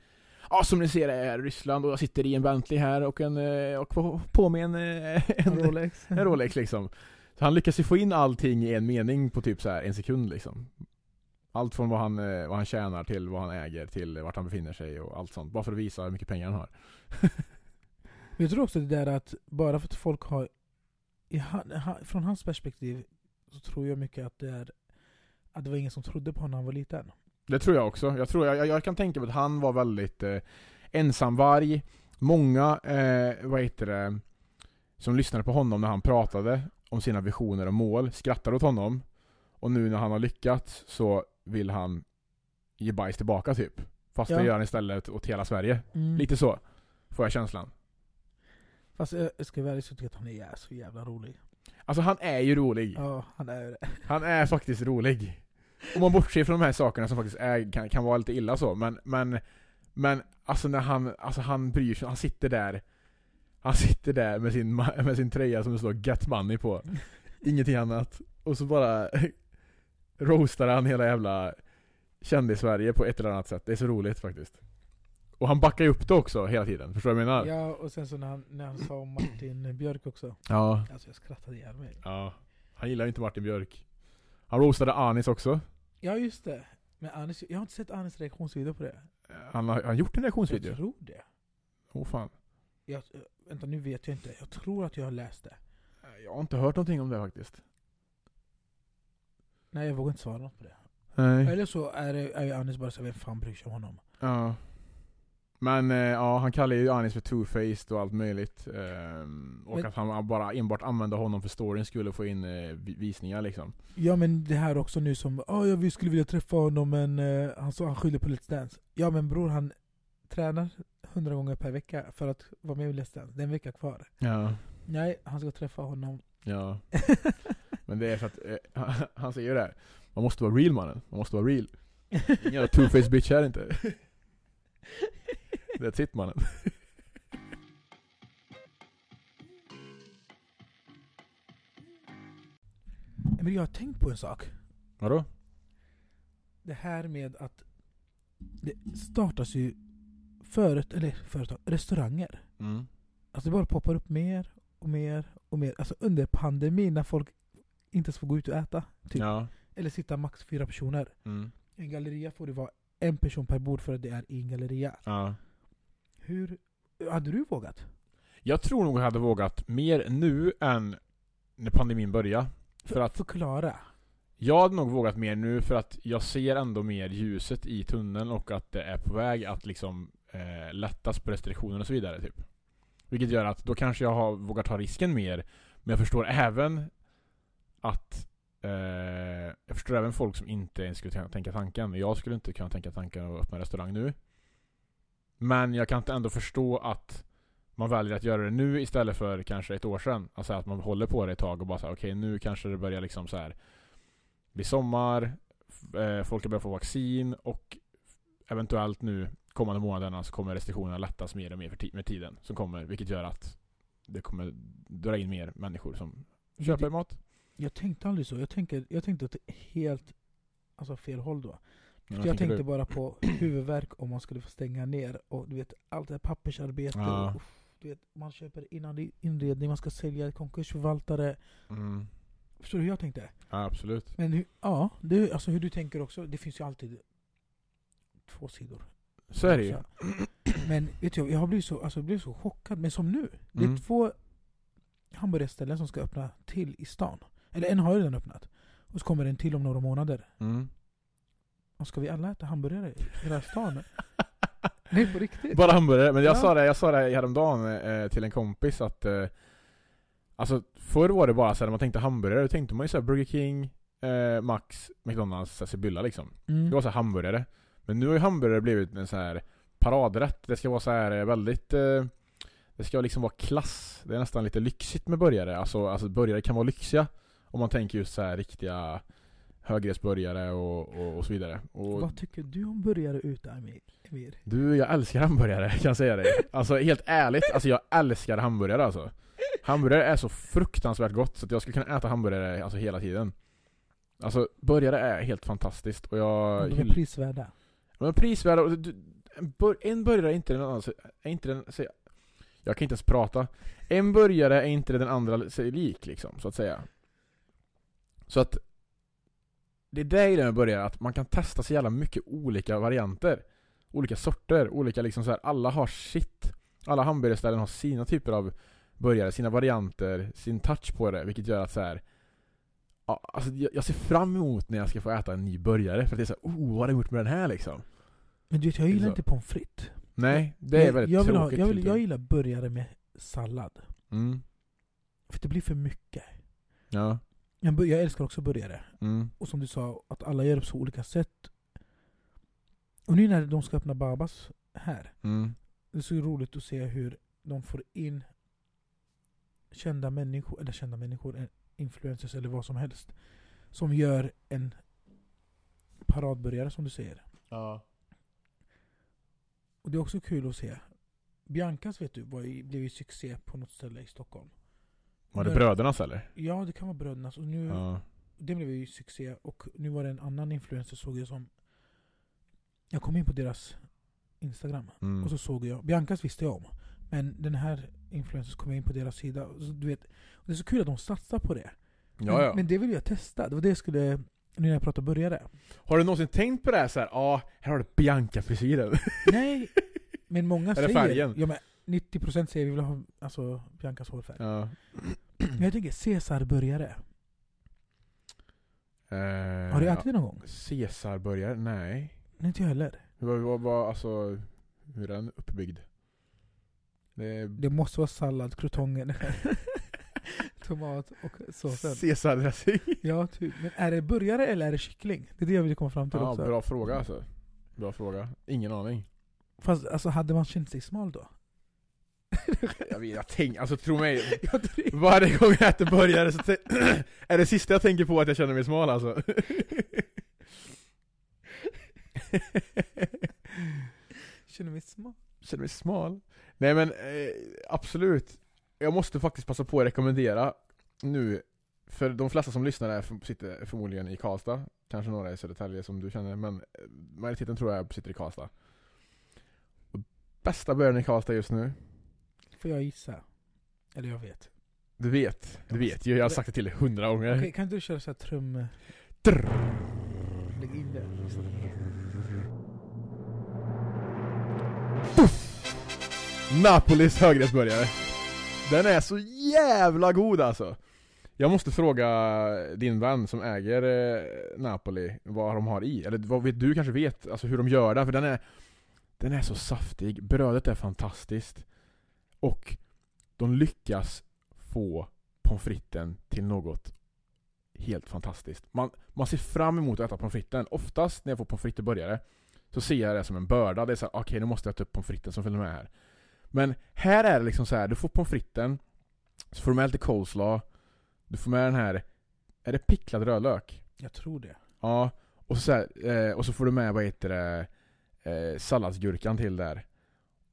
[SPEAKER 2] Ja, som ni ser är jag i Ryssland och jag sitter i en Bentley här och, en, eh, och på, på med en, eh, en,
[SPEAKER 1] Rolex.
[SPEAKER 2] en Rolex liksom. Så han lyckas ju få in allting i en mening på typ så här en sekund liksom. Allt från vad han, eh, vad han tjänar till vad han äger till vart han befinner sig och allt sånt. Bara för att visa hur mycket pengar han har.
[SPEAKER 1] Jag tror också det där att bara för att folk har, i han, han, från hans perspektiv, så tror jag mycket att det är att det var ingen som trodde på honom när han var liten.
[SPEAKER 2] Det tror jag också. Jag, tror, jag, jag kan tänka mig att han var väldigt eh, ensamvarg. Många, eh, vad heter det, som lyssnade på honom när han pratade om sina visioner och mål, skrattade åt honom. Och nu när han har lyckats så vill han ge bajs tillbaka typ. Fast
[SPEAKER 1] Ja.
[SPEAKER 2] det gör han istället åt hela Sverige.
[SPEAKER 1] Mm.
[SPEAKER 2] Lite så, får jag känslan.
[SPEAKER 1] Fast jag jag ska vara ärlig så tycker jag att han är jä- så jävla rolig.
[SPEAKER 2] Alltså han är ju rolig.
[SPEAKER 1] Ja, han är ju det.
[SPEAKER 2] Han är faktiskt rolig. Om man bortser från de här sakerna som faktiskt är, kan, kan vara lite illa så, men, men, men alltså när han, alltså han bryr sig, han sitter där Han sitter där med sin, ma- med sin tröja som det står 'Get money' på Ingenting annat. Och så bara roastar han hela jävla kändis-Sverige på ett eller annat sätt. Det är så roligt faktiskt. Och han backar ju upp det också hela tiden, förstår du vad jag menar?
[SPEAKER 1] Ja, och sen så när han, när han sa om Martin Björk också.
[SPEAKER 2] Ja.
[SPEAKER 1] Alltså jag skrattade ihjäl mig.
[SPEAKER 2] ja. Han gillar ju inte Martin Björk. Han roastade Anis också.
[SPEAKER 1] Ja just det. Men Anis, jag har inte sett Anis reaktionsvideo på det.
[SPEAKER 2] Han har, han gjort en reaktionsvideo.
[SPEAKER 1] Jag tror det. eh,
[SPEAKER 2] Åh fan.
[SPEAKER 1] Jag, vänta nu vet jag inte. Jag tror att jag har läst det.
[SPEAKER 2] jag har inte hört någonting om det faktiskt.
[SPEAKER 1] Nej jag vågar inte svara något på det.
[SPEAKER 2] Nej.
[SPEAKER 1] Eller så är, det- är ju Anis bara såhär, vem fan bryr sig om honom?
[SPEAKER 2] Ja. Men eh, ja, han kallar ju Anis för two-faced och allt möjligt. Ehm, och
[SPEAKER 1] Men-
[SPEAKER 2] att han bara enbart använde honom för storyn skulle få in eh, vi- visningar liksom.
[SPEAKER 1] Ja men det här också nu som, ah ja vi skulle vilja träffa honom men eh, han, sa, han skyller på Let's Dance. Ja men bror han tränar 100 gånger per vecka för att vara med i Let's Dance. Det är en vecka kvar.
[SPEAKER 2] Ja.
[SPEAKER 1] Nej, han ska träffa honom.
[SPEAKER 2] Ja. Men det är för att, eh, han, han säger ju det här. Man måste vara real mannen. Man måste vara real. Inga two-faced bitch här inte. That's it mannen.
[SPEAKER 1] Men jag har tänkt på en sak.
[SPEAKER 2] Vadå?
[SPEAKER 1] Det här med att det startas ju föret, eller företag, restauranger.
[SPEAKER 2] Mm.
[SPEAKER 1] Alltså det bara poppar upp mer och mer och mer. Alltså under pandemin när folk inte ens får gå ut och äta. Typ.
[SPEAKER 2] Ja.
[SPEAKER 1] Eller sitta max fyra personer.
[SPEAKER 2] Mm.
[SPEAKER 1] I en galleria får det vara en person per bord för att det är i en galleria.
[SPEAKER 2] ja.
[SPEAKER 1] Hur hade du vågat?
[SPEAKER 2] Jag tror nog jag hade vågat mer nu än när pandemin började. För att
[SPEAKER 1] Förklara.
[SPEAKER 2] jag hade nog vågat mer nu för att jag ser ändå mer ljuset i tunneln och att det är på väg att liksom eh, lättas på restriktioner och så vidare. Typ. Vilket gör att då kanske jag har vågat ta risken mer. Men jag förstår även att eh, jag förstår även folk som inte ens skulle tänka- tänka tanken. Men jag skulle inte kunna tänka tanken att öppna restaurang nu. Men jag kan inte ändå förstå att man väljer att göra det nu istället för kanske ett år sedan. Alltså att man håller på det ett tag och bara säger okej nu kanske det börjar liksom så här bli sommar, f- eh, folk har börjat få vaccin och eventuellt nu kommande månaderna så kommer restriktionerna lättas mer och mer för ti- med tiden som kommer, vilket gör att det kommer dra in mer människor som köper mat.
[SPEAKER 1] Jag tänkte aldrig så. Jag tänkte, jag tänkte åt helt alltså fel håll då. jag
[SPEAKER 2] Men vad tänker
[SPEAKER 1] tänkte
[SPEAKER 2] du?
[SPEAKER 1] bara på huvudvärk om man skulle få stänga ner och du vet allt det här pappersarbetet.
[SPEAKER 2] Ja.
[SPEAKER 1] Och, uff, du vet, man köper innan inredning, man ska sälja konkursförvaltare.
[SPEAKER 2] Mm.
[SPEAKER 1] Förstår du hur jag tänkte?
[SPEAKER 2] Ja, absolut.
[SPEAKER 1] Men hur, ja, det, alltså hur du tänker också. Det finns ju alltid två sidor.
[SPEAKER 2] Så är det ju.
[SPEAKER 1] Men vet du, jag har blivit så, alltså, jag blev så chockad. Men som nu. Det är
[SPEAKER 2] Mm.
[SPEAKER 1] två hamburgerställen som ska öppna till i stan. Eller en har ju redan öppnat. Och så kommer en till om några månader.
[SPEAKER 2] Mm.
[SPEAKER 1] Och ska vi alla äta hamburgare i hela stan? Nej på riktigt.
[SPEAKER 2] Bara hamburgare, men jag
[SPEAKER 1] Ja.
[SPEAKER 2] sa det, jag sa det häromdagen eh, till en kompis att eh, Alltså förr var det bara så här, när man tänkte hamburgare, då tänkte man ju såhär Burger King, eh, Max, McDonalds, så här, Sibylla liksom.
[SPEAKER 1] Mm.
[SPEAKER 2] Det var så här hamburgare. Men nu har ju hamburgare blivit en så här paradrätt. Det ska vara så här väldigt... eh, Det ska liksom vara klass. Det är nästan lite lyxigt med burgare. Alltså, alltså burgare kan vara lyxiga. Om man tänker just så här riktiga högrättsburgare och, och, och så vidare. Och
[SPEAKER 1] Vad tycker du om burgare ute Amir? Amir?
[SPEAKER 2] du, jag älskar hamburgare kan jag säga dig. Alltså helt ärligt, alltså jag älskar hamburgare alltså. Hamburgare är så fruktansvärt gott så att jag skulle kunna äta hamburgare alltså hela tiden. Alltså burgare är helt fantastiskt och jag
[SPEAKER 1] Om de är
[SPEAKER 2] hyll-
[SPEAKER 1] prisvärda.
[SPEAKER 2] de är prisvärda och du, en bur- en burgare är inte den andra, så- är inte den, så, jag kan inte ens prata. En burgare är inte den andra sig lik liksom, så att säga. Så att det är det jag gillar med burgare, att man kan testa så jävla mycket olika varianter. Olika sorter, olika liksom så här, alla har sitt. Alla hamburgerställen har sina typer av burgare, sina varianter, sin touch på det, vilket gör att så här. Ja, alltså jag jag ser fram emot när jag ska få äta en ny burgare, för att det är såhär oh, vad har de gjort med den här liksom?
[SPEAKER 1] Men du vet jag
[SPEAKER 2] Det är
[SPEAKER 1] gillar
[SPEAKER 2] så.
[SPEAKER 1] inte pommes frites.
[SPEAKER 2] Nej, det är
[SPEAKER 1] jag,
[SPEAKER 2] väldigt
[SPEAKER 1] jag vill ha,
[SPEAKER 2] tråkigt. typ.
[SPEAKER 1] jag, vill, jag
[SPEAKER 2] tycker
[SPEAKER 1] gillar burgare med sallad.
[SPEAKER 2] jag. Mm.
[SPEAKER 1] För det blir för mycket.
[SPEAKER 2] Ja.
[SPEAKER 1] Jag, bur- jag älskar också burgare.
[SPEAKER 2] Mm.
[SPEAKER 1] Och som du sa, att alla gör det på så olika sätt. Och nu när de ska öppna Babas här.
[SPEAKER 2] Mm.
[SPEAKER 1] Det är så roligt att se hur de får in kända människor, eller kända människor, eh, influencers eller vad som helst. Som gör en paradburgare som du säger.
[SPEAKER 2] Ja.
[SPEAKER 1] Och det är också kul att se. Biancas vet du, var ju, blev ju succé på något ställe i Stockholm.
[SPEAKER 2] Var det
[SPEAKER 1] Men-
[SPEAKER 2] brödernas eller?
[SPEAKER 1] Ja, det kan vara Brödernas. Och nu,
[SPEAKER 2] Ja.
[SPEAKER 1] Det blev ju succé. Och nu var det en annan influencer såg jag som... Jag kom in på deras Instagram.
[SPEAKER 2] Mm.
[SPEAKER 1] Och så såg jag, Biancas visste jag om. Men den här influencers kom in på deras sida. Och så, du vet, det är så kul att de satsar på det.
[SPEAKER 2] ja, ja.
[SPEAKER 1] Men, men det vill jag testa. Det var det jag skulle, nu när jag pratade burgare.
[SPEAKER 2] Har du någonsin tänkt på det här såhär, ja, ah, här har du Bianca-frisyren.
[SPEAKER 1] Nej! Men många
[SPEAKER 2] Eller
[SPEAKER 1] säger...
[SPEAKER 2] färgen.
[SPEAKER 1] Ja, men 90% säger vi vill ha alltså, Biancas hårfärg.
[SPEAKER 2] ja.
[SPEAKER 1] Jag tänker Caesarburgare. Har du ätit det någon gång?
[SPEAKER 2] eh, Caesarburgare? Nej.
[SPEAKER 1] Nej, inte jag heller.
[SPEAKER 2] Vad, vad, vad, alltså, hur är den uppbyggd? Det är
[SPEAKER 1] Det måste vara sallad, krutongen, tomat och såsen.
[SPEAKER 2] Caesardressing.
[SPEAKER 1] Ja, typ. Men är det burgare eller är det kyckling? Det är det jag vill komma fram till
[SPEAKER 2] Ja,
[SPEAKER 1] också.
[SPEAKER 2] bra fråga alltså. Bra fråga. Ingen aning.
[SPEAKER 1] Fast alltså, hade man känt sig smal då?
[SPEAKER 2] Jag, vet, jag tänk, alltså tro mig.
[SPEAKER 1] Jag driver.
[SPEAKER 2] Varje gång jag äter burgare så tän- är det sista jag tänker på att jag känner mig smal alltså.
[SPEAKER 1] Känner mig smal?
[SPEAKER 2] känner mig smal. Nej men eh, absolut. Jag måste faktiskt passa på att rekommendera nu, för de flesta som lyssnar är, för- sitter förmodligen i Karlstad. Kanske några i Södertälje som du känner, men eh, majoriteten tror jag sitter i Karlstad. Och bästa början i Karlstad just nu,
[SPEAKER 1] Får jag gissa? Eller jag vet.
[SPEAKER 2] du vet, du vet ju, jag har sagt det till dig hundra gånger.
[SPEAKER 1] Okej, kan inte du köra så här trum... Lägg in det.
[SPEAKER 2] Napolis högrättsburgare. Den är så jävla god alltså. Jag måste fråga din vän som äger eh, Napoli vad de har i. Eller vad vet du kanske vet alltså hur de gör den. För den är, den är så saftig. Brödet är fantastiskt. Och de lyckas få pommes fritesen till något helt fantastiskt. Man, man ser fram emot att äta pommes fritesen. Oftast när jag får pommes frites och burgare så ser jag det som en börda. Det är så här, okej nu måste jag ta upp pommes fritesen som följer med här. Men här är det liksom så här, du får pommes fritesen, så får du med lite coleslaw, du får med den här, är det picklad rödlök?
[SPEAKER 1] Jag tror det.
[SPEAKER 2] Ja, och så, så här, eh, och så får du med, vad heter det, eh, salladsgurkan till där.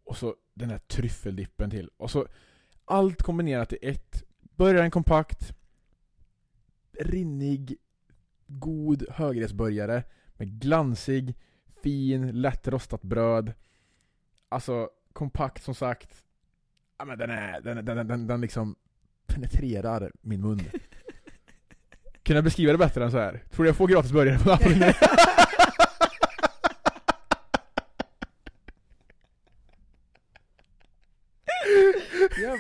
[SPEAKER 2] Och så den här tryffeldippen till. Och så allt kombinerat i ett. Början kompakt, rinnig, god högrättsburgare med glansig, fin, lätt rostat bröd. Alltså kompakt som sagt. Ja, men den, är, den, den, den, den, den liksom penetrerar min mun. Kunde jag beskriva det bättre än så här? Tror du jag får gratis burgare på Napoli nu?
[SPEAKER 1] Ja.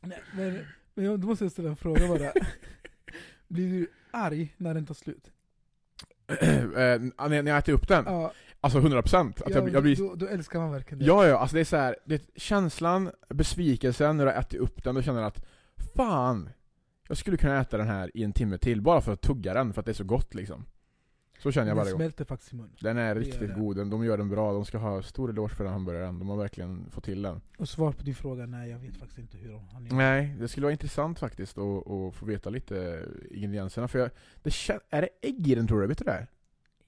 [SPEAKER 1] Nej, men, men jag, då måste jag ställa en fråga bara. Blir du arg när den tar slut?
[SPEAKER 2] Eh, när när jag äter upp den?
[SPEAKER 1] Ja,
[SPEAKER 2] Alltså 100% att jag, jag blir...
[SPEAKER 1] då, då älskar man verkligen det.
[SPEAKER 2] Ja, ja, alltså det är så här, det, känslan, besvikelsen när du har ätit upp den, då känner du att Fan! Jag skulle kunna äta den här i en timme till, bara för att tugga den, för att det är så gott liksom Så känner jag
[SPEAKER 1] den
[SPEAKER 2] varje gång
[SPEAKER 1] smälter faktiskt i munnen.
[SPEAKER 2] Den är
[SPEAKER 1] Det gör
[SPEAKER 2] riktigt
[SPEAKER 1] den.
[SPEAKER 2] god, den- de gör den bra, de ska ha stor eloge för den hamburgaren, de har verkligen fått till den
[SPEAKER 1] Och svar på din fråga, nej jag vet faktiskt inte hur de han gör.
[SPEAKER 2] Nej, det skulle vara intressant faktiskt att, att få veta lite ingredienserna, för jag, det kän- Är det ägg i den tror du? Vet du det?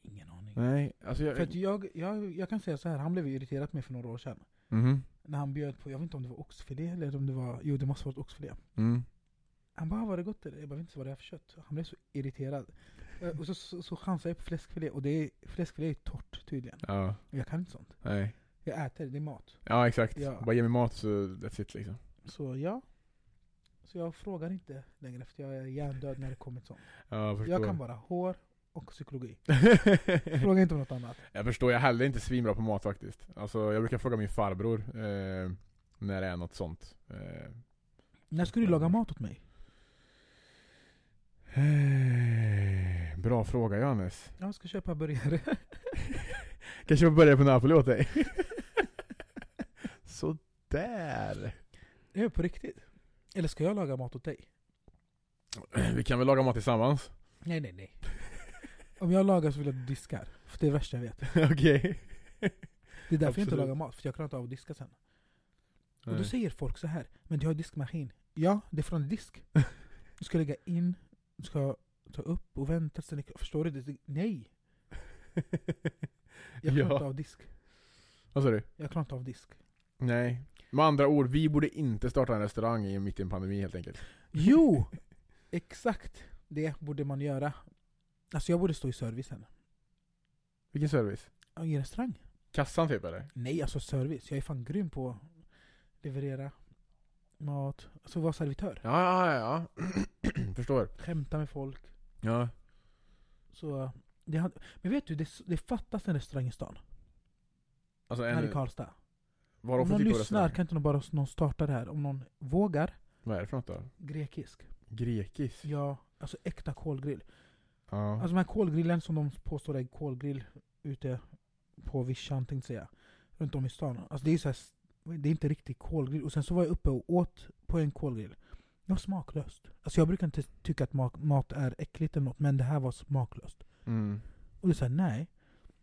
[SPEAKER 1] Ingen aning.
[SPEAKER 2] Nej, alltså jag...
[SPEAKER 1] För att jag, jag, jag kan säga så här, han blev ju irriterad på mig för några år sedan.
[SPEAKER 2] Mhm,
[SPEAKER 1] När han bjöd på, jag vet inte om det var oxfilé eller om det var, jo det måste ha varit oxfilé.
[SPEAKER 2] mm.
[SPEAKER 1] Han bara 'Var det gott eller?' Jag bara 'Vet inte vad det är för kött' Han blev så irriterad. Eh, Och så, så, så chansade jag på fläskfilé, och det är, fläskfilé är torrt tydligen.
[SPEAKER 2] Ja,
[SPEAKER 1] Jag kan inte sånt.
[SPEAKER 2] nej
[SPEAKER 1] Jag äter, det är mat.
[SPEAKER 2] Ja exakt,
[SPEAKER 1] Ja.
[SPEAKER 2] bara ge mig mat så that's it liksom
[SPEAKER 1] Så ja. Så jag frågar inte längre efter jag är hjärndöd när det kommer till sånt.
[SPEAKER 2] Ja, jag förstår.
[SPEAKER 1] Jag kan bara hår och psykologi. Fråga inte om något annat.
[SPEAKER 2] jag förstår, jag är heller inte svinbra på mat faktiskt. Alltså, jag brukar fråga min farbror eh, när det är något sånt. Eh,
[SPEAKER 1] När ska du laga mat åt mig?
[SPEAKER 2] bra fråga Johannes.
[SPEAKER 1] Jag ska köpa burgare.
[SPEAKER 2] Kanske jag börjar på Napoli åt dig? Sådär.
[SPEAKER 1] Det är på riktigt. Eller ska jag laga mat åt dig?
[SPEAKER 2] Vi kan väl laga mat tillsammans?
[SPEAKER 1] Nej nej nej. Om jag lagar så vill jag att du diskar. För det är det värsta jag vet.
[SPEAKER 2] Okej.
[SPEAKER 1] Det är därför jag inte
[SPEAKER 2] Absolut.
[SPEAKER 1] lagar mat, för jag klarar inte av att diska sen. Och då
[SPEAKER 2] Nej.
[SPEAKER 1] säger folk så här, men du har diskmaskin. Ja, det är från disk. Du ska lägga in, du ska ta upp och vänta sen Förstår du? Det? Nej! Jag klarar
[SPEAKER 2] Ja.
[SPEAKER 1] inte av disk.
[SPEAKER 2] Vad sa du?
[SPEAKER 1] Jag klarar inte av disk.
[SPEAKER 2] Nej. Med andra ord, vi borde inte starta en restaurang i mitt i en pandemi helt enkelt.
[SPEAKER 1] Jo! Exakt det borde man göra. Alltså jag borde stå i servicen.
[SPEAKER 2] Vilken service?
[SPEAKER 1] Ja, I en restaurang?
[SPEAKER 2] Kassan typ eller?
[SPEAKER 1] Nej, alltså service. Jag är fan grym på att leverera mat. Alltså vara servitör.
[SPEAKER 2] Ja, ja, ja. Förstår.
[SPEAKER 1] Skämta med folk.
[SPEAKER 2] Ja.
[SPEAKER 1] Så, det, hade- men vet du, det, det fattas en restaurang i stan.
[SPEAKER 2] Alltså
[SPEAKER 1] här i
[SPEAKER 2] en,
[SPEAKER 1] Karlstad.
[SPEAKER 2] var har
[SPEAKER 1] Om
[SPEAKER 2] de
[SPEAKER 1] någon
[SPEAKER 2] fått titta på
[SPEAKER 1] lyssnar
[SPEAKER 2] restaurang?
[SPEAKER 1] kan inte någon bara någon starta det här. Om någon vågar,
[SPEAKER 2] Vad är det för något då?
[SPEAKER 1] grekisk.
[SPEAKER 2] Grekis?
[SPEAKER 1] Ja, alltså äkta kolgrill.
[SPEAKER 2] Ja.
[SPEAKER 1] Alltså den här kolgrillen som de påstår är kolgrill ute på vischan tänkte jag säga. Runt om i stan. Alltså det är så här, s- det är inte riktigt kolgrill. Och sen så var jag uppe och åt på en kolgrill. Det var smaklöst. Alltså jag brukar inte tycka att mak- mat är äckligt eller något, men det här var smaklöst.
[SPEAKER 2] mm.
[SPEAKER 1] Och du säger nej.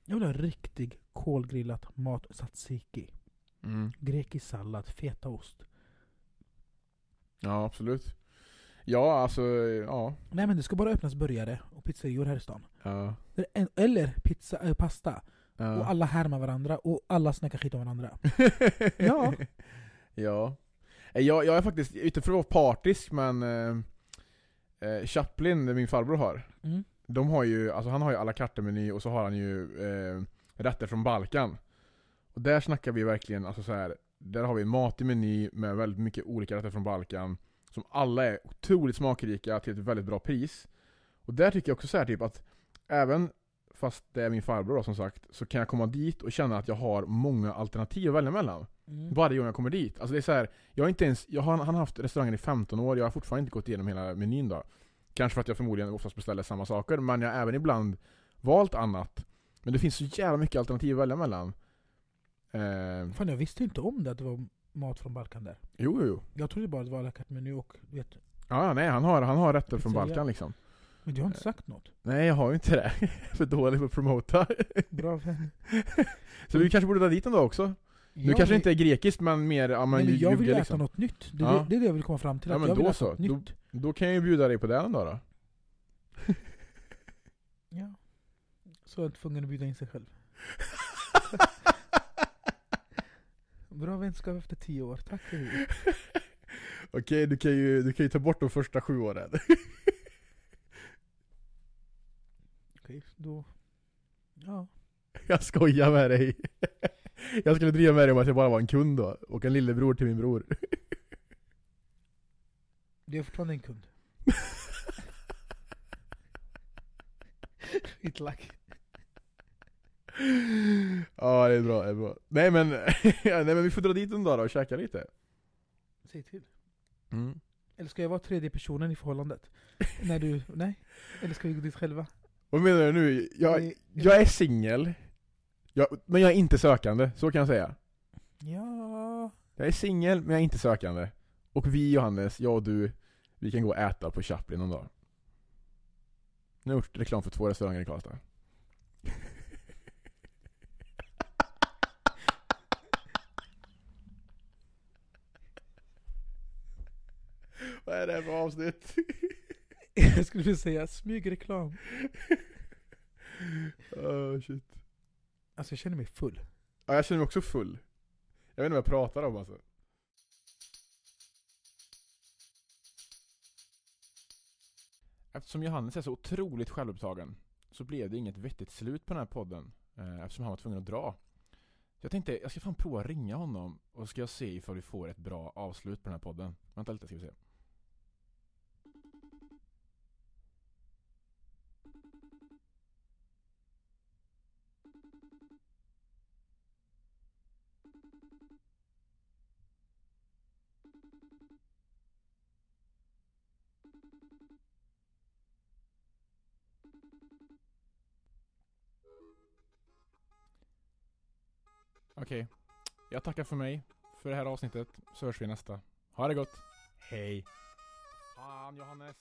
[SPEAKER 1] Jag vill ha riktig kolgrillat mat, tzatziki,
[SPEAKER 2] Mm.
[SPEAKER 1] grekisk sallad, fetaost.
[SPEAKER 2] Ja, absolut. Ja, alltså, ja.
[SPEAKER 1] Nej men det ska bara öppnas burgare och pizzerior här i stan.
[SPEAKER 2] ja.
[SPEAKER 1] Eller pizza, äh, pasta.
[SPEAKER 2] ja.
[SPEAKER 1] Och alla härmar varandra och alla snackar skit om varandra. Ja.
[SPEAKER 2] ja. Eh, Jag, jag är faktiskt, utanför att vara partisk men eh, eh, Chaplin, min farbror har,
[SPEAKER 1] Mm.
[SPEAKER 2] de har ju, alltså han har ju alla kartemeny och så har han ju eh, rätter från Balkan. Och där snackar vi verkligen, alltså så här, där har vi mat i meny med väldigt mycket olika rätter från Balkan. Som alla är otroligt smakrika till ett väldigt bra pris. Och där tycker jag också så här typ att, även fast det är min farbror då, som sagt, så kan jag komma dit och känna att jag har många alternativ att välja mellan.
[SPEAKER 1] Mm.
[SPEAKER 2] Varje gång jag kommer dit. Alltså det är så här, jag har inte ens, jag har, han har haft restaurangen i 15 år, jag har fortfarande inte gått igenom hela menyn då. Kanske för att jag förmodligen oftast beställer samma saker, men jag har även ibland valt annat. Men det finns så jävla mycket alternativ att välja mellan. Eh,
[SPEAKER 1] Fan jag visste inte om det att det var mat från Balkan där.
[SPEAKER 2] jo, jo, jo.
[SPEAKER 1] Jag trodde bara att det var alla kartmeny och du vet.
[SPEAKER 2] Ja, ja, nej, han har, han har rätter från
[SPEAKER 1] Pizzeria.
[SPEAKER 2] Balkan liksom.
[SPEAKER 1] Men du har inte sagt något.
[SPEAKER 2] Nej, jag har ju inte det. för dålig på att promota.
[SPEAKER 1] Bra.
[SPEAKER 2] så vi kanske borde dra dit en dag också. Nu kanske det inte är grekiskt, men mer, ja men
[SPEAKER 1] men
[SPEAKER 2] ju-
[SPEAKER 1] jag vill
[SPEAKER 2] jugge,
[SPEAKER 1] äta
[SPEAKER 2] liksom.
[SPEAKER 1] något nytt. Det, är
[SPEAKER 2] Ja.
[SPEAKER 1] det- det är det jag vill komma fram till.
[SPEAKER 2] Ja,
[SPEAKER 1] att
[SPEAKER 2] men
[SPEAKER 1] jag vill
[SPEAKER 2] då
[SPEAKER 1] äta
[SPEAKER 2] så.
[SPEAKER 1] något nytt.
[SPEAKER 2] Då kan jag ju bjuda dig på den då. då.
[SPEAKER 1] Ja. Så är jag inte tvungen att bjuda in sig själv. Bra vänskap efter tio år. Tack för det.
[SPEAKER 2] Okej, du kan, ju, du kan ju ta bort de första sju åren.
[SPEAKER 1] Okej, då. Ja.
[SPEAKER 2] Jag skojar med dig. Jag skulle driva med dig om att jag bara var en kund då, och en lillebror till min bror.
[SPEAKER 1] Det är fortfarande en kund. Skitlack.
[SPEAKER 2] Ja, det är bra, det är bra. Nej men, ja, nej, men vi får dra dit en dag då och käka lite.
[SPEAKER 1] Säg till. Eller ska jag vara tredje personen i förhållandet? När du, nej? Eller ska vi gå dit själva?
[SPEAKER 2] Vad menar du nu? Jag,
[SPEAKER 1] Eh,
[SPEAKER 2] jag är singel, Jag- men jag är inte sökande, så kan jag säga.
[SPEAKER 1] Ja...
[SPEAKER 2] Jag är singel, men jag är inte sökande. Och vi Johannes, jag och du, vi kan gå och äta på Chaplin någon dag. Nu har jag gjort reklam för två restauranger i Karlstad. Vad är det här för avsnitt?
[SPEAKER 1] Jag skulle vilja säga smygreklam.
[SPEAKER 2] oh, shit.
[SPEAKER 1] Alltså jag känner mig full.
[SPEAKER 2] Ja, jag känner mig också full. Jag vet inte vad jag pratar om alltså. Eftersom Johannes är så otroligt självupptagen så blev det inget vettigt slut på den här podden eh, eftersom han var tvungen att dra. Så jag tänkte, jag ska fan prova att ringa honom och ska jag se ifall vi får ett bra avslut på den här podden. Vänta lite ska vi se. Okej, jag tackar för mig för det här avsnittet så hörs vi i nästa. Ha det gott! Hej! Fan Johannes!